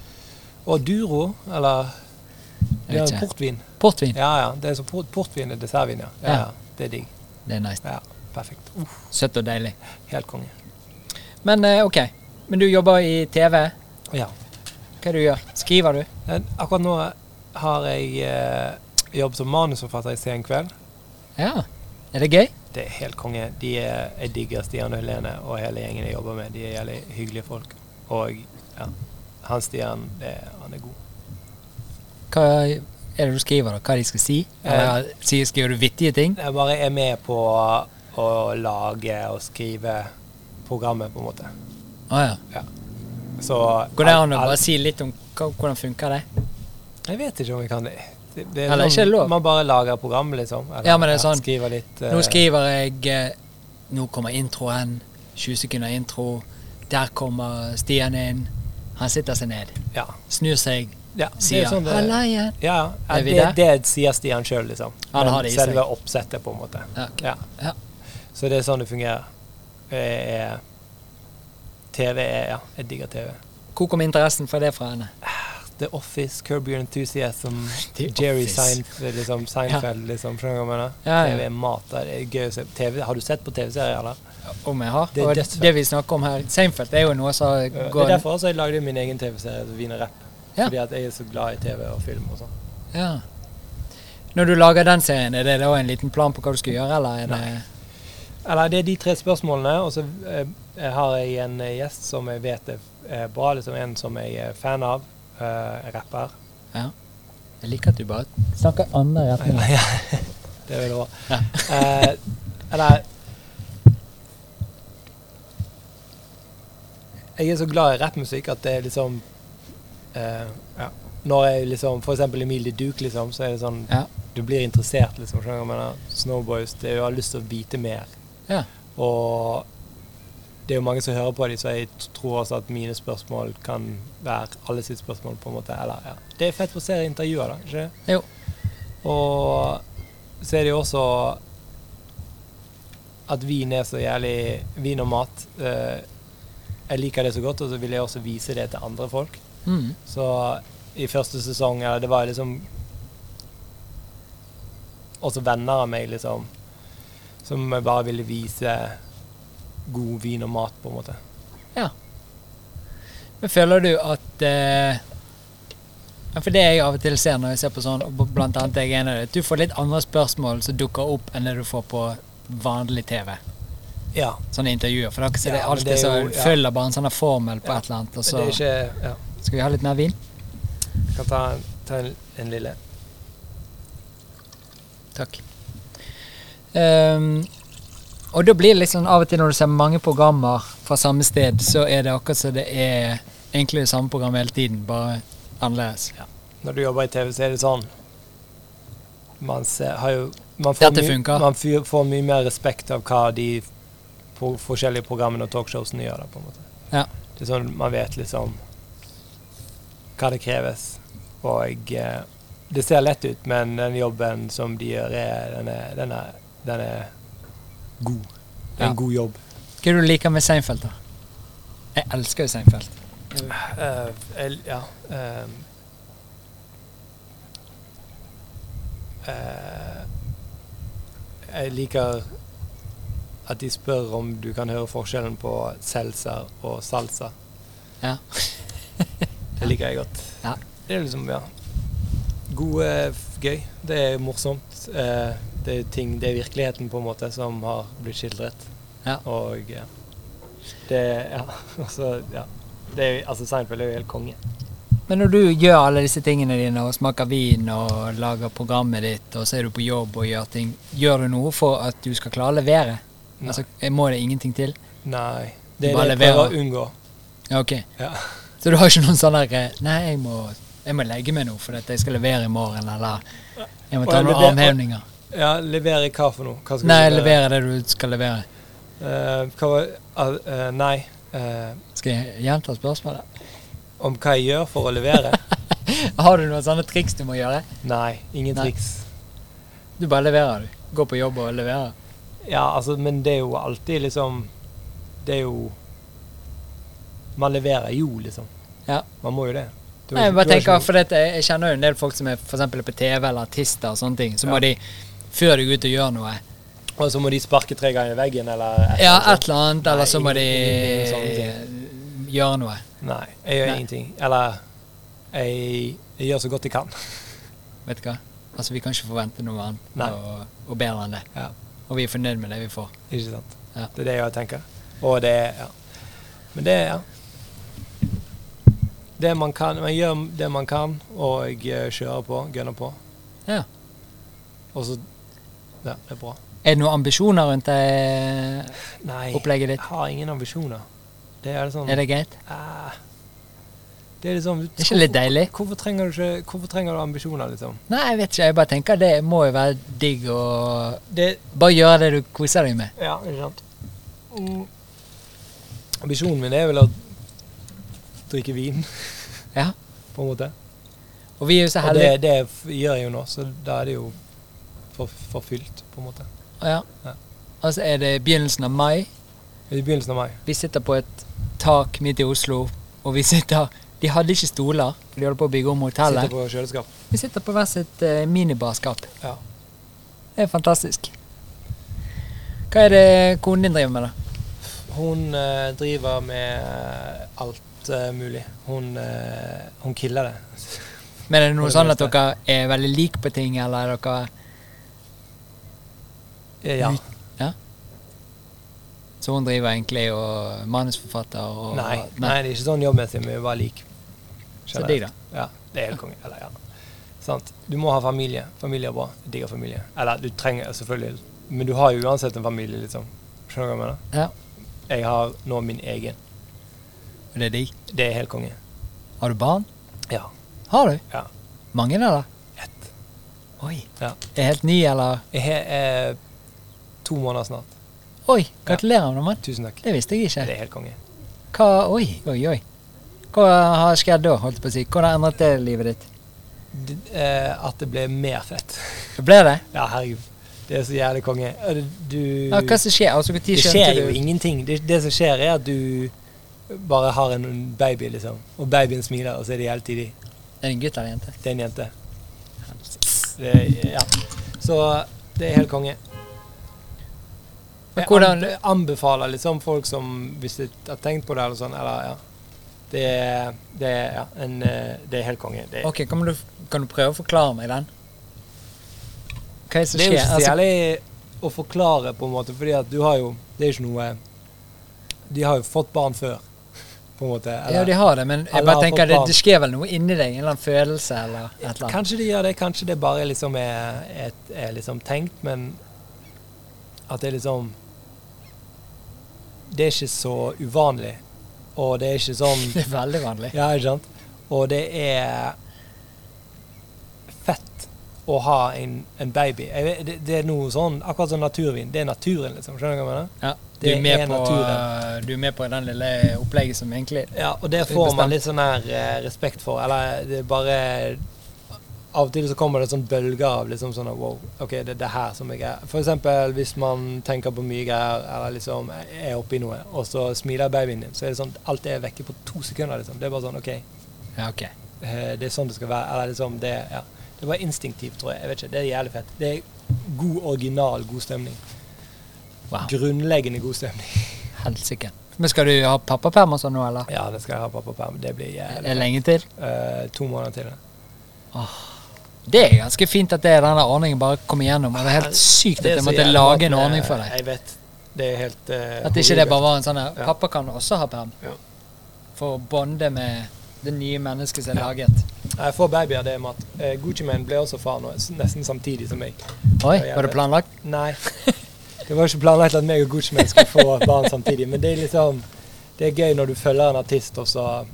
Og Duro, eller Det vet er ikke. portvin. Portvin. Ja, ja. Det er så port, portvin er dessertvin, ja. ja. Ja. ja. Det er digg. Det er nice. Ja, perfekt. Uff, Søtt og deilig. helt konge. Men eh, ok, men du jobber i TV. Ja. Hva er det du gjør? Skriver du? Men akkurat nå har jeg eh, jobb som manusforfatter i Sen kveld. Ja. Er det gøy? Det er helt konge. De er, jeg digger Stian og Helene og hele gjengen jeg jobber med. De er jævlig hyggelige folk. Og ja, han Stian, det, han er god. Hva er det du skriver, da? Hva de skal si? Eller, sier, skriver du vittige ting? Jeg bare er med på å lage og skrive programmet, på en måte. Å ja. Så Går det an å bare si litt om hva- hvordan funker det? Jeg vet ikke om jeg kan det. det, det er Eller sånn- ikke lov. Man bare lager program, liksom. Eller, Ja, men det er sånn. Skriver litt eh, Nå skriver jeg eh, Nå kommer introen. 20 sekunder intro. Der kommer Stian inn. Han sitter seg ned. eh, Ja. Snur seg. ja det Sier er sånn det, 'Halla igjen'. ja, ja, Er vi det, det der? sier Stian sjøl, liksom. Han Men har det i seg. selve oppsettet, på en måte. Ja, ok. Ja. Ja. Så det er sånn det fungerer. Eh, TV er Ja, jeg digger TV. Hvor kom interessen for det fra henne? The Office, Curb Your Enthusiasm, The Jerry Office. Seinfeld, liksom. Seinfeld, liksom. Skjønner du hva jeg mener? Ja, ja. TV er mat. Det er gøy å se på TV. Har du sett på TV-serier, eller? Om jeg har? Det er og dødsfett. det vi snakker om her Seinfeld er jo noe som Det går er derfor også jeg lagde min egen TV-serie, Vin og rap. Ja. Fordi at jeg er så glad i TV og film og sånn. Ja. Når du lager den serien, er det da en liten plan på hva du skal gjøre, eller er det Eller det er de tre spørsmålene, og så eh, har jeg en eh, gjest som jeg vet er eh, bra, liksom en som jeg er fan av. eh, rapper. Jeg liker at du bare snakker andre retninger. Ja, det er veldig bra. Ja. Eh, eller Jeg er så glad i rappmusikk at det er liksom eh, Ja. når jeg liksom For eksempel Emil de Duke, liksom, så er det sånn Ja. Du blir interessert, liksom. Skjønner du hva jeg mener? Snowboys. Det er jo, jeg har lyst til å vite mer. Ja. Og det er jo mange som hører på dem, så jeg t- tror også at mine spørsmål kan være alle sitt spørsmål, på en måte. Eller, ja. Det er fett for å se intervjuer, da. Ikke det? Jo. Og så er det jo også at vin er så jævlig Vin og mat. eh, jeg liker det så godt, og så vil jeg også vise det til andre folk. Mm. Så i første sesong ja, Det var liksom Også venner av meg, liksom. Som jeg bare ville vise god vin og mat, på en måte. Men føler du at eh, ja, For det jeg av og til ser når jeg ser på sånn, og b- blant annet jeg er en av det, at du får litt andre spørsmål som dukker opp enn det du får på vanlig TV. Ja. Sånne intervjuer. For dere ser Ja, det men alltid det er så jo- ja. følger bare en sånn her formel på Ja, et eller annet, og Så. Det så er ikke Ja. Skal vi ha litt mer vin? Jeg kan ta, en- ta en, en lille Takk. Ehm, og da blir det liksom av og til når du ser mange programmer fra samme sted, så er det akkurat som det er egentlig det samme programmet hele tiden, bare annerledes. Når du jobber i TV, så er det sånn Man ser, har jo man får, Dette mye- funker. man fyr, får mye mer respekt av hva de på forskjellige programmene og talkshowsene gjør. Da, på en måte. Ja. Det er sånn, man vet liksom hva det kreves. Og eh, det ser lett ut, men den jobben som de gjør, er, den, er, den, er, den er god. Det er Ja. en god jobb. Hva er det du liker med Seinfeld, da? Jeg elsker jo Seinfeld. Eh, el- ja. ehm. Eh, jeg liker at de spør om du kan høre forskjellen på seltzer og salsa. Ja. det liker jeg godt. Ja. Det er liksom, ja. God, eh, f- gøy. Det er morsomt. Eh, det er ting, det er virkeligheten på en måte som har blitt skildret. Ja. Og eh, det, ja, altså, ja. Det er, jo- altså Seinfeld er jo helt konge. Men når du gjør alle disse tingene dine, og smaker vin og lager programmet ditt, og så er du på jobb og gjør ting, gjør du noe for at du skal klare å levere? Nei. Altså, jeg må det ingenting til? Nei. Det er Bare det jeg prøver å leverer. unngå. Ja, ok. Ja. Så du har ikke noen sånn der eh, Nei, jeg må, jeg må legge meg nå fordi at jeg skal levere i morgen, eller jeg må Og ta jeg noen lever- armhevninger. Ja, levere hva for noe? Hva skal Nei, du levere? levere det du skal levere. Eh, hva var, ah, eh, nei. eh, Skal jeg gjenta spørsmålet? om hva jeg gjør for å levere? Har du noen sånne triks du må gjøre? nei, ingen Nei. triks. Du bare leverer, du. Går på jobb og leverer. Ja, altså, men det er jo alltid liksom Det er jo Man leverer jo, liksom. Ja. Man må jo det. Du har Nei, jeg ikke- bare du har ikke tenker, noe- for dette, Jeg kjenner jo en del folk som er for eksempel på TV eller artister og sånne ting. Så må Ja. de, før de går ut og gjør noe Og så må de sparke tre ganger i veggen, eller et Ja, eller annet et eller annet, eller så må de Nei, ingenting. gjøre noe. sånt. Nei, jeg gjør Nei. ingenting. Eller jeg, jeg gjør så godt jeg kan. Vet du hva? Altså, vi kan ikke forvente noe Nei. annet og, og bedre enn det. Ja. Og vi er fornøyd med det vi får. Ikke sant? Ja. Det er det jeg tenker. Og det er ja. Men det er ja. Det man kan Man gjør det man kan, og eh, kjører på, gunner på. Ja. Og så Ja, det er bra. Er det noen ambisjoner rundt det Nei, opplegget jeg ditt? har ingen ambisjoner. Det er sånn Er det greit? Ah. Det er liksom Det er ikke litt deilig? Hvorfor trenger du ikke Hvorfor trenger du ambisjoner, liksom? Nei, jeg vet ikke. Jeg bare tenker det må jo være digg å Det Bare gjøre det du koser deg med. Ja, ikke sant. Mm. Ambisjonen min er vel å drikke vin, Ja. på en måte. Og vi er jo så Og heldige. det, det f- gjør jeg jo nå, så da er det jo for, forfylt, på en måte. Ja. Ja. Og så er det begynnelsen av mai. I begynnelsen av mai. Vi sitter på et tak midt i Oslo, og vi sitter De hadde ikke stoler, for de holdt på å bygge om Sitter hotellet. på kjøleskap. Vi sitter på hvert sitt eh, minibarskap. Ja. Det er fantastisk. Hva er det konen din driver med, da? Hun eh, driver med alt eh, mulig. Hun, eh, hun killer det. Men er det For noe det sånn at meste. dere er veldig like på ting, eller er dere Eh, Ja. Så hun driver egentlig og er manusforfatter og Nei, nei, det er ikke sånn jobbmessig, men vi er bare lik. Så digg, da. Ja, det er helt konge. Eller, ja. Sant? Du må ha familie. Familie er bra. Jeg digger familie. Eller du trenger selvfølgelig Men du har jo uansett en familie, liksom. Skjønner du hva jeg mener? Ja. Jeg har nå min egen. Og det er digg. Det er helt konge. Har du barn? Ja. Har du? Ja. Mange der, da? Ett. Oi. Ja. Er helt ny, eller? Jeg har eh, to måneder snart. Oi, gratulerer med det, mann. Tusen takk. Det visste jeg Det ikke. er helt konge. Hva Oi, oi, oi. Hva har skjedd da, holdt jeg på å si? Hvordan har endret det livet ditt? D eh, at det ble mer fett. Ble det? Ja, herregud. Det er så jævlig konge. Eh, det- Du Ja, hva som skjer? Altså, hvor tid Det skjønte skjer jo du? ingenting. Det, det som skjer, er at du bare har en baby, liksom. Og babyen smiler, og så er det helt tidlig. Er det en gutt eller en jente? Det er en jente. Det, er- ja. Så det er helt konge. Men Jeg hvordan- anbe- anbefaler liksom folk som hvis de har tenkt på det eller sånn, eller ja. Det, er- det, er, ja, en, eh, det er helt konge. Det, Ok, kan du, kan du prøve å forklare meg den? Hva er det som det er jo skjer? ikke så Altså, jævlig å forklare, på en måte, fordi at du har jo Det er ikke noe De har jo fått barn før, på en måte. ja, de har det, men jeg Alle har bare tenker fått det, barn. det skjer vel noe inni deg? En eller annen følelse eller et eller annet? Kanskje de gjør det, kanskje det bare liksom er, et, er liksom tenkt, men at det er liksom Det er ikke så uvanlig, og det er ikke sånn Det er veldig vanlig. Ja, ikke sant? Og det er fett å ha en, en baby. Jeg vet, det, det er noe sånn, akkurat som naturvin. Det er naturen, liksom. Skjønner du hva jeg mener? Ja, du, Det er med er på, eh, naturen. du er med på den lille opplegget som egentlig Ja, og det får man litt sånn her eh, respekt for. Eller det er bare Av og til så kommer det sånn bølger av liksom sånn at, Wow, OK, det er det her som jeg er For eksempel hvis man tenker på mye greier, eller liksom er oppi noe, og så smiler babyen din, så er det sånn alt er vekke på to sekunder, liksom. Det er bare sånn OK, Ja, ok. eh, det er sånn det skal være. Eller liksom Det ja. Det var instinktivt, tror jeg. Jeg vet ikke. Det er jævlig fett. Det er god, original god stemning. Wow. Grunnleggende god stemning. Helsike. Men skal du ha pappaperm og sånn nå, eller? Ja, det skal jeg ha pappaperm. Det blir Er jævlig det lenge til? Eh, To måneder til. Det er ganske fint at det er denne ordningen bare kom igjennom. og Det er helt sykt at Det er jeg så måtte jævla at, lage en eh, ordning for deg. Jeg vet. Det er helt eh, At ikke det bare var en sånn her Ja. Pappa kan også ha perm. Ja. For å bonde med det nye mennesket som er laget. horribelt. Jeg får babyer, det er mat. Eh, Gucci Man ble også far nå, s- nesten samtidig som meg. Oi, Ja, var jævlig. det planlagt? Nei. Det var ikke planlagt at meg og Gucci Man skulle få barn samtidig, men det er liksom Det er gøy når du følger en artist, og så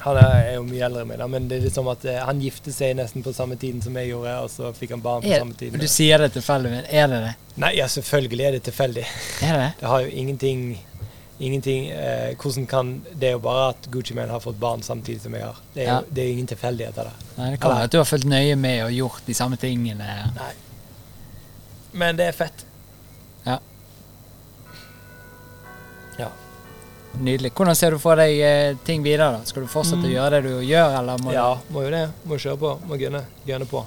Han er er jo mye eldre enn meg, da, men det er liksom at eh, han giftet seg nesten på samme tiden som jeg gjorde, og så fikk han barn på Er, samme tid. du sier det tilfeldig, men er det det? Nei, ja, selvfølgelig er det tilfeldig. Er det? det? Det har jo ingenting Ingenting eh, Hvordan kan Det er jo bare at Gucci Man har fått barn samtidig som jeg har. Det er jo Ja. det er jo ingen tilfeldigheter der. Nei, det kan Nei. være at du har fulgt nøye med og gjort de samme tingene. Nei. Men det er fett. Nydelig. Hvordan ser du for deg eh, ting videre? da? Skal du fortsette å gjøre det du gjør, eller må Mm. ja, må jo det. Må kjøre på. Må gunne. Gunne på.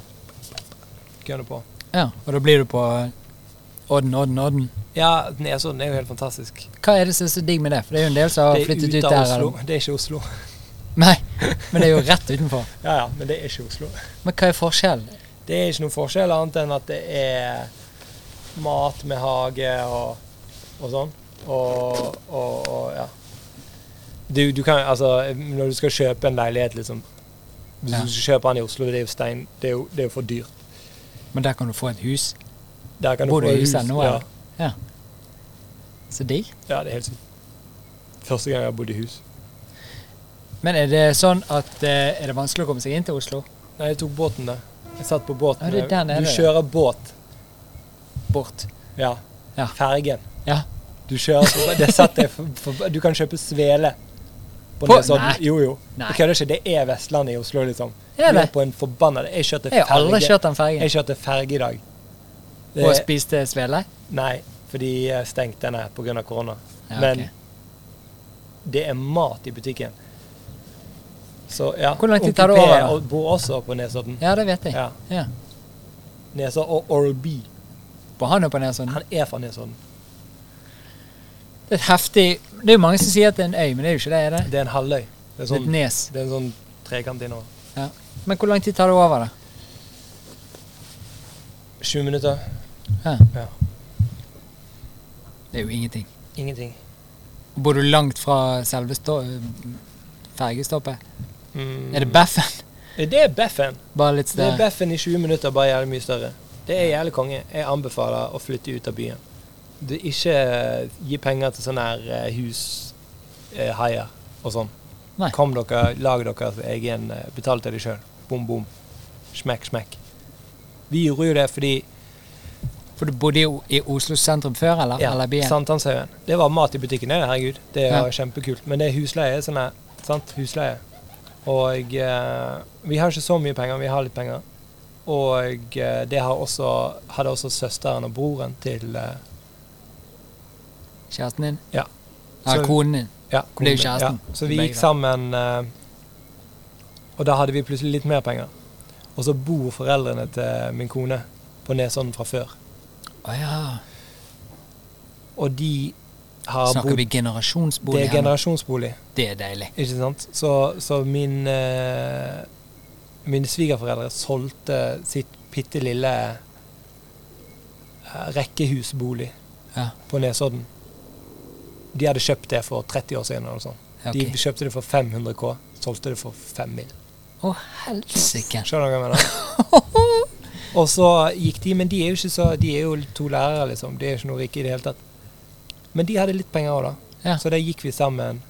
Gunne på. du Ja, Og da blir du på eh, Odden, Odden, Odden. Ja, Nesodden er jo helt fantastisk. Hva er det som er så digg med det? For det er jo en del som har Det er flyttet ut ute der. av Oslo. Eller? Det er ikke Oslo. Nei, men det er jo rett utenfor. Ja, ja, men det er ikke Oslo. Men hva er forskjellen? Det er ikke noen forskjell annet enn at det er mat med hage og, og sånn. Og, og, og ja. Du, du kan altså Når du skal kjøpe en leilighet, liksom Hvis Ja. du skal kjøpe den i Oslo, det er jo stein. Det er jo, det er jo for dyrt. Men der kan du få et hus. Der kan Bor du du få i hus. huset nå, ja. eller? Så digg. ja, det er helt sykt. Første gang jeg har bodd i hus. Men er det sånn at eh, er det vanskelig å komme seg inn til Oslo? Nei, jeg tok båten, da. Jeg satt på båten. Ja, det er der nede, du ja. kjører båt. Bort. Ja. Ja. Fergen. Ja. Du kjører på Det satt jeg for, for Du kan kjøpe svele på På- Nesodden. Nei. Jo, jo. Nei. Jeg kødder ikke. Det er Vestlandet i Oslo, liksom. Er Du det? er på en forbanna Jeg kjørte Jeg har aldri ferge. kjørt den fergen. Jeg kjørte ferge i dag. Og Det, spiste svele? nei, for de eh, stengte denne pga. korona. Ja, Men ok. det er mat i butikken. Så ja. Hvor lang tid Onkel tar det P over, da? og- Bor også på Nesodden. Ja, det vet jeg. Ja. Ja. Nesodden og Oral B. På han og på Nesodden. Han er fra Nesodden. Det er et heftig Det er jo mange som sier at det er en øy, men det er jo ikke det, er det? Det er en halvøy. Det er Det er sånn, et nes. det er en sånn trekant innover. Men hvor lang tid tar det over, da? Sju minutter. Det er jo ingenting. Ingenting. Bor du langt fra selve stå fergestoppet? Mm. Er det Baffen? Det er Beffen. Bare litt Det er større? Beffen i 20 minutter, bare jævlig mye større. Det er jævlig konge. Jeg anbefaler å flytte ut av byen. Du ikke eh, gi penger til sånne her eh, hus, eh, haier og sånn. Nei. Kom dere, lag deres egen eh, Betal til deg sjøl. Bom, bom. Smekk, smekk. Vi gjorde jo det fordi For du bodde jo i Oslo sentrum før, eller? ja, eller byen? Sankthanshaugen. Det var mat i butikken, det, herregud. Det var Ja. kjempekult. Men det er husleie. Sånn her, sant? Husleie. Og eh, vi har ikke så mye penger, vi har litt penger. Og eh, det har også, hadde også søsteren og broren til eh, Kjæresten din? Ja. Eller Så- konen din? Ja, Det er jo kommune. kjæresten. Ja. Så vi Begge gikk da. sammen, eh, og da hadde vi plutselig litt mer penger. Og så bor foreldrene til min kone på Nesodden fra før. Å ja. Og de har Snakker bodd vi generasjonsbolig? Det er her nå? generasjonsbolig, det er deilig. ikke sant? Så, så min eh, Mine svigerforeldre solgte sitt bitte lille eh, rekkehusbolig Ja. på Nesodden. De hadde kjøpt det for 30 år siden. eller noe sånt. Ok. De kjøpte det for 500 K, solgte det for 5 mill. Å, helsike. Skjønner du hva jeg mener? Og så gikk de, men de er jo ikke så De er jo to lærere, liksom. De er ikke noe rike i det hele tatt. Men de hadde litt penger òg, da. Ja. Så da gikk vi sammen,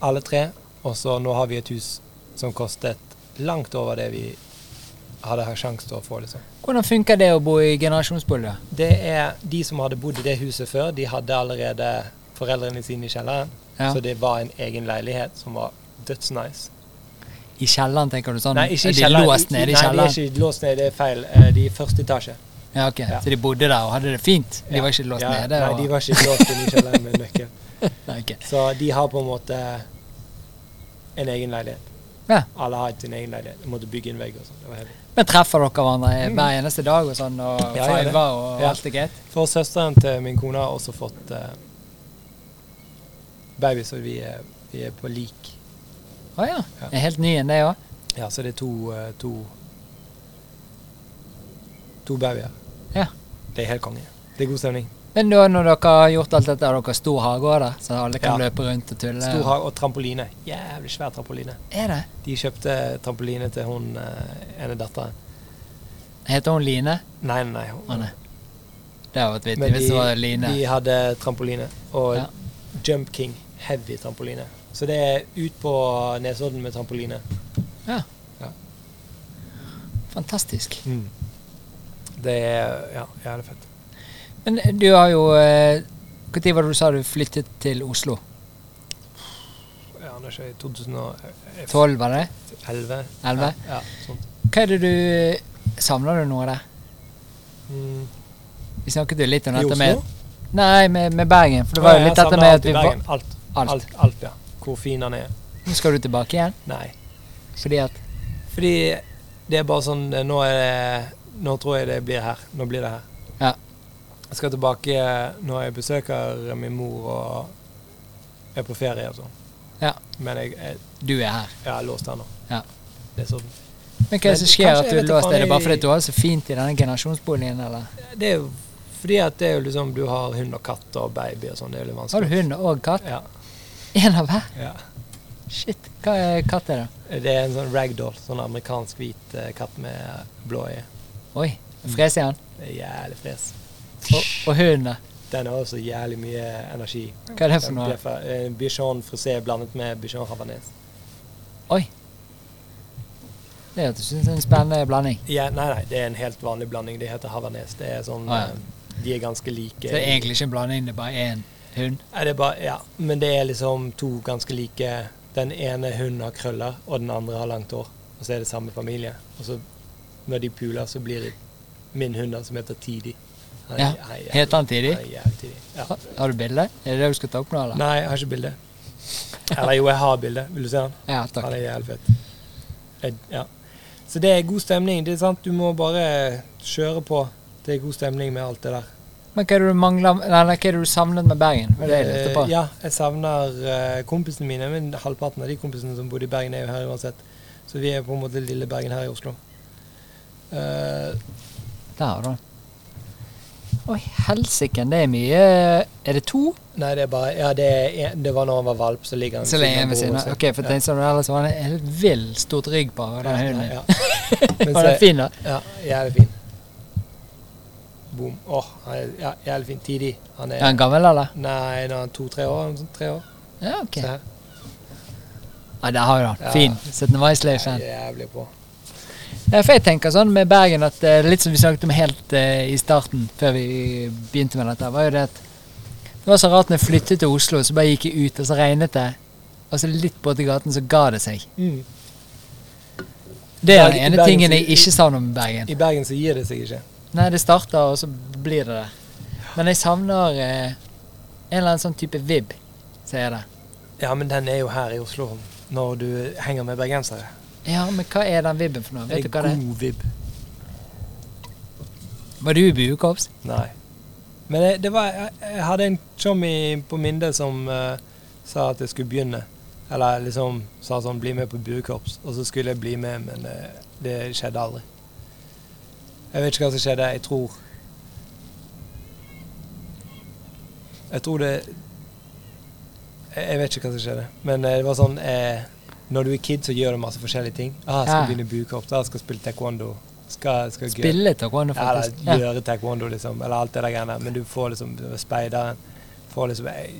alle tre. Og så nå har vi et hus som kostet langt over det vi hadde hatt sjanse til å få, liksom. Hvordan funker det å bo i generasjonsbolig? da? Det er de som hadde bodd i det huset før, de hadde allerede foreldrene sine i kjelleren. Ja. Så det var en egen leilighet som var dødsnice. I kjelleren, tenker du sånn? Nei, ikke i er de kjelleren. låst nede i Nei, kjelleren? de er ikke låst nede, det er feil. Eh, De er i første etasje. Ja, ok. Ja. Så de bodde der og hadde det fint? De Ja. var ikke låst Ja, nede? Nei, og... de var ikke låst inne i kjelleren med nøkkel. Nei, ok. Så de har på en måte en egen leilighet. Ja. Alle har sin egen leilighet. De måtte bygge en vegg og sånn. Det var heavy. Men treffer dere hverandre hver eneste dag og sånn, og Mm. Ja, ja, det. fiver og Ja. alt er greit? For søsteren til min kone har også fått eh, baby, så vi er, vi er på lik. Å ja. Ja. Er helt ny enn det òg? Ja, så det er to eh, to, to babyer. Ja. Det er helt konge. Det er god stemning. Men da når dere har gjort alt dette, har dere stor hage òg, da? Så alle kan Ja. løpe rundt og tulle? Stor og- hage og trampoline. Jævlig svær trampoline. Er det? De kjøpte trampoline til hun eh, ene datteren. Heter hun Line? Nei, nei, nei. hun- Å nei. Det hadde vært vittig Men hvis det var de, Line. de hadde trampoline og Ja. Jump King. Heavy trampoline. Så det er ut på Nesodden med trampoline. Fantastisk. Mm. Det er ja, jævlig fett. Men du har jo eh, Når var det du sa du flyttet til Oslo? Ja, nå er det ikke 2011? 12, var det? 11? Ja, ja, sånn. sånt. Hva er det du Savner du noe der? Mm. Vi snakket jo litt om I dette Oslo? med Nei, med, med Bergen. For det Å, var ja, jo litt jeg dette savner med alt at i vi var Bergen. alt, alt. Alt. alt. ja. Hvor fin han er. Nå skal du tilbake igjen. Nei. Fordi at Fordi det er bare sånn eh, Nå, er det, nå tror jeg det blir her. Nå blir det her. Ja. Jeg skal tilbake når jeg besøker min mor og er på ferie og sånn. Ja. Men jeg, jeg du er her. Jeg er låst her nå. Ja. Det, er sånn. Men hva er det Men som skjer kanskje at jeg du er vet låst? faen, Er det bare jeg- fordi at du har det så fint i denne generasjonsboligen, eller? det er jo fordi at det er jo liksom du har hund og katt og baby og sånn. Det er jo litt Har vanskelig. du hund og katt? Ja, Én av hver? ja. Shit. Hva er katt er det? Det er en sånn ragdoll. Sånn amerikansk hvit eh, katt med blå øye. Oi. Freser han? Det er jævlig fres. Og, og hunden, da? Den har også jævlig mye energi. Hva er det for Den noe? blir fra- eh, Bichon frisé blandet med bichon havanes. Oi. Det hørtes ut som en spennende blanding. Ja, nei, nei, det er en helt vanlig blanding. Det heter havanes. Det er sånn Ah, ja. eh, De er ganske like. Så det er egentlig ikke en blanding, det er bare én hund. Nei, det er bare, ja. Men det er liksom to ganske like Den ene hunden har krøller, og den andre har langt hår. Og så er det samme familie. Og så når de puler, så blir det min hund, da, som heter Tidi. Han er- Ja, han er jævlig- Heter han Tidi? Han er jævlig tidig. Ja. Har har du bilde? Er det det du skal ta opp nå, eller? Nei, jeg har ikke bilde. Eller jo, jeg har bilde. Vil du se han? Ja, Han takk. er jævlig fett. Jeg- Ja. Så det er god stemning. Det er sant, Du må bare kjøre på. Det er god stemning med alt det der. Men hva er det du mangler Nei, nei, hva er det du savnet med Bergen? Var det jeg lurte på? Eh, Ja, jeg savner eh, kompisene mine, men halvparten av de kompisene som bodde i Bergen, er jo her uansett. Så vi er på en måte lille Bergen her i Oslo. Eh, Der har du den. Oi, helsike, det er mye Er det to? nei, det er bare Ja, det, er en, det var når han var valp, så ligger han Så lenge jeg er ved siden broren av. sin. Ok, for tenk sånn, ellers var han en helt vill stort rygg på den altså. Ja, hunden. ja, Men Var den så- fin, da? Ja, jævlig fin. Boom. Åh, han er ja, jævlig fin. Tidig. Han Er er han gammel, eller? Nei, nå er han to-tre år. han er sånn Tre år. Ja, ok. Se her. Ja, der har du den. Ja. Fin. 17. Vice-Leifen. Jævlig på. Ja, for jeg tenker sånn med Bergen at eh, litt som vi snakket om helt eh, i starten, før vi begynte med dette, var jo det at det var så rart når jeg flyttet til Oslo, så bare gikk jeg ut, og så regnet det. Og så litt borti gaten, så ga det seg. Mm. Det er Bergen- den ene Bergen- tingen jeg ikke savner med Bergen. I Bergen så gir det seg ikke. Nei, det starter, og så blir det det. Men jeg savner eh, en eller annen sånn type vib, sier jeg det. Ja, men den er jo her i Oslo når du henger med bergensere. Ja, men hva er den vibben for noe? Vet du hva det er? god vibb. Var du i buekorps? Nei. Men jeg, det var, jeg, jeg hadde en chommy på Minde som eh, sa at jeg skulle begynne. Eller liksom sa sånn 'bli med på buekorps', og så skulle jeg bli med, men eh, det skjedde aldri. Jeg vet ikke hva som skjedde. Jeg tror Jeg tror det Jeg jeg vet ikke hva som skjedde, men eh, det var sånn eh, Når du er kid, så gjør du masse forskjellige ting. Ah, 'Jeg skal Ja. begynne i buekorps', ah, 'jeg skal spille taekwondo'. Skal, skal gøy. Spille taekwondo, Ja, Eller faktisk. Ja. gjøre taekwondo, liksom. Eller alt det der greiene. Men du får liksom speideren Får liksom jeg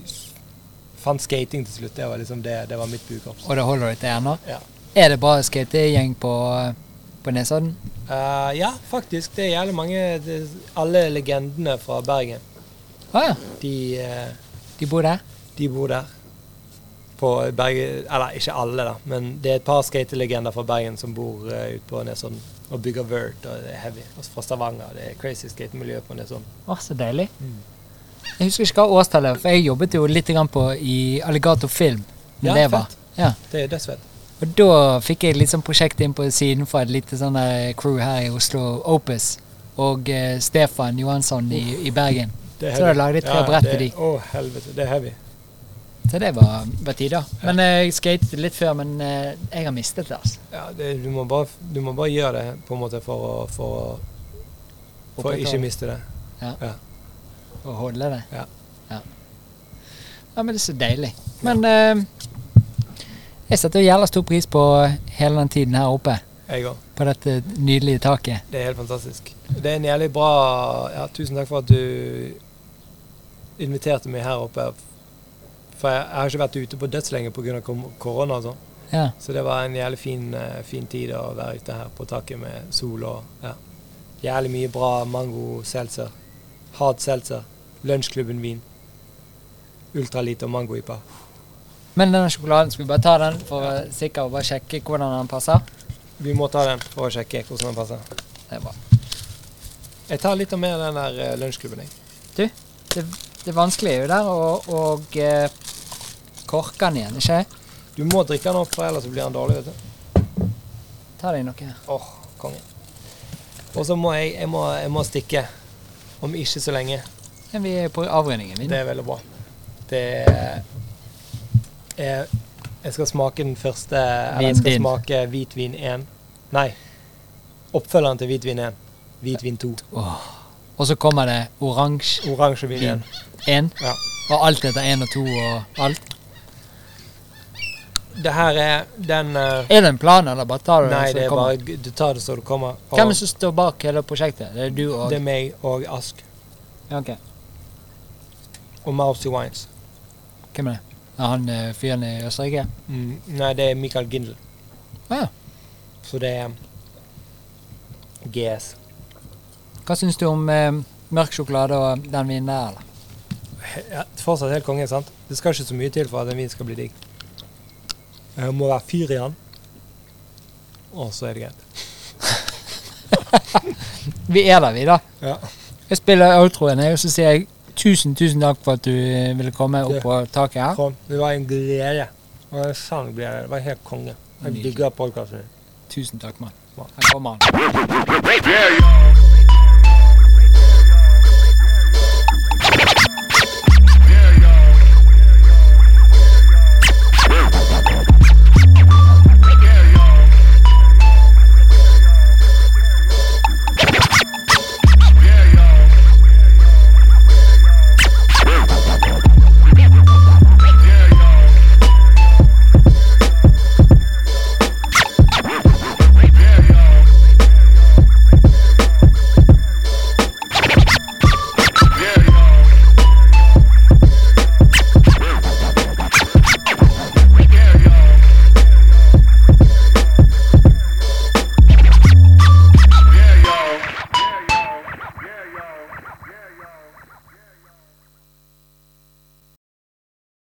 Fant skating til slutt. Det var liksom det, det var mitt bukorps. Og det holder du til ennå? Ja. Er det bra skategjeng på, på Nesodden? Eh, ja, faktisk. Det er jævlig mange det, Alle legendene fra Bergen, Å ja. de, eh, De bor der? de bor der. På Bergen Eller ikke alle, da, men det er et par skatelegender fra Bergen som bor eh, ute på Nesodden. Og bygger vert og det er heavy. Og fra Stavanger. Det er crazy skatemiljø på Nesodden. Å, så deilig. Mm. Jeg husker ikke hva årstallet er, for jeg jobbet jo litt grann på i Alligator Film. Ja, Ja, det var. fett. Ja. Det er dødsfett. Og da fikk jeg litt sånn prosjekt inn på siden fra et lite sånn der crew her i Oslo, Opus, og eh, Stefan Johansson i, i Bergen. Det er Så da heavy. lagde jeg tre brett det- til de. Å, helvete. Det er heavy. Så det var, var tider. Men eh, jeg skatet litt før, men eh, jeg har mistet det, altså. Ja, det, du, må bare, du må bare gjøre det på en måte for å For, å, for å Opprettholde. ikke miste det. Å holde det. Ja. ja. Ja, men det er så deilig. Men eh, jeg setter jævla stor pris på hele den tiden her oppe. Jeg òg. På dette nydelige taket. Det er helt fantastisk. Det er en jævlig bra ja, Tusen takk for at du inviterte meg her oppe. For jeg, jeg har ikke vært ute på dødslenge pga. korona og sånn. Ja. Så det var en jævlig fin, eh, fin tid å være ute her på taket med sol og ja. Jævlig mye bra mango-seltzer. Hard seltzer. Lunsjklubben-vin. Ultralite og mango-ipa. Men denne sjokoladen, skal vi bare ta den for å være sikker og bare sjekke hvordan den passer? Vi må ta den for å sjekke hvordan den passer. Det er bra. Jeg tar litt mer den der eh, lunsjklubben, jeg. Det, det vanskelige er jo der å og, eh, korke den igjen, ikke Du må drikke den opp, for ellers så blir den dårlig, vet du. Ta deg noe her. Åh, konge. Og så må jeg, jeg, må, jeg må stikke. Om ikke så lenge. Men vi er på avrundingen, vi. Det nå. er veldig bra. Det er jeg, jeg skal smake den første Eller jeg Vin skal din. smake hvitvin 1. Nei. Oppfølgeren til hvitvin 1. Hvitvin 2. Og så kommer det oransje Oransjevin Vin. 1. 1, Ja. og alt heter 1 og 2 og alt. Det her er den eh, Er det en plan, eller bare tar du den Nei, som det er kommer? bare g- Du tar det så du kommer. og Hvem er det som står bak hele prosjektet? Det er du og det er meg og Ask. Ja, ok. Og Mousy Wines. Hvem er det? Er han eh, fyren i Østerrike? Mm, nei, det er Michael Gindel. Ah, ja. Så det er GS. Hva syns du om eh, mørk sjokolade og den vinen der, eller? Ja, fortsatt helt konge, sant? Det skal ikke så mye til for at en vin skal bli digg. Det må være fyr i den, og så er det greit. Vi er der, vi, da. Ja. Jeg spiller outroen, jeg, og så sier jeg tusen, tusen takk for at du eh, ville komme opp Det- på taket her. Kom, det var en glede. Det var en sang glede. Det var helt konge. Jeg Nydelig. digger podkasten din. Tusen takk, mann. Ja. Her kommer han. Yeah, yo.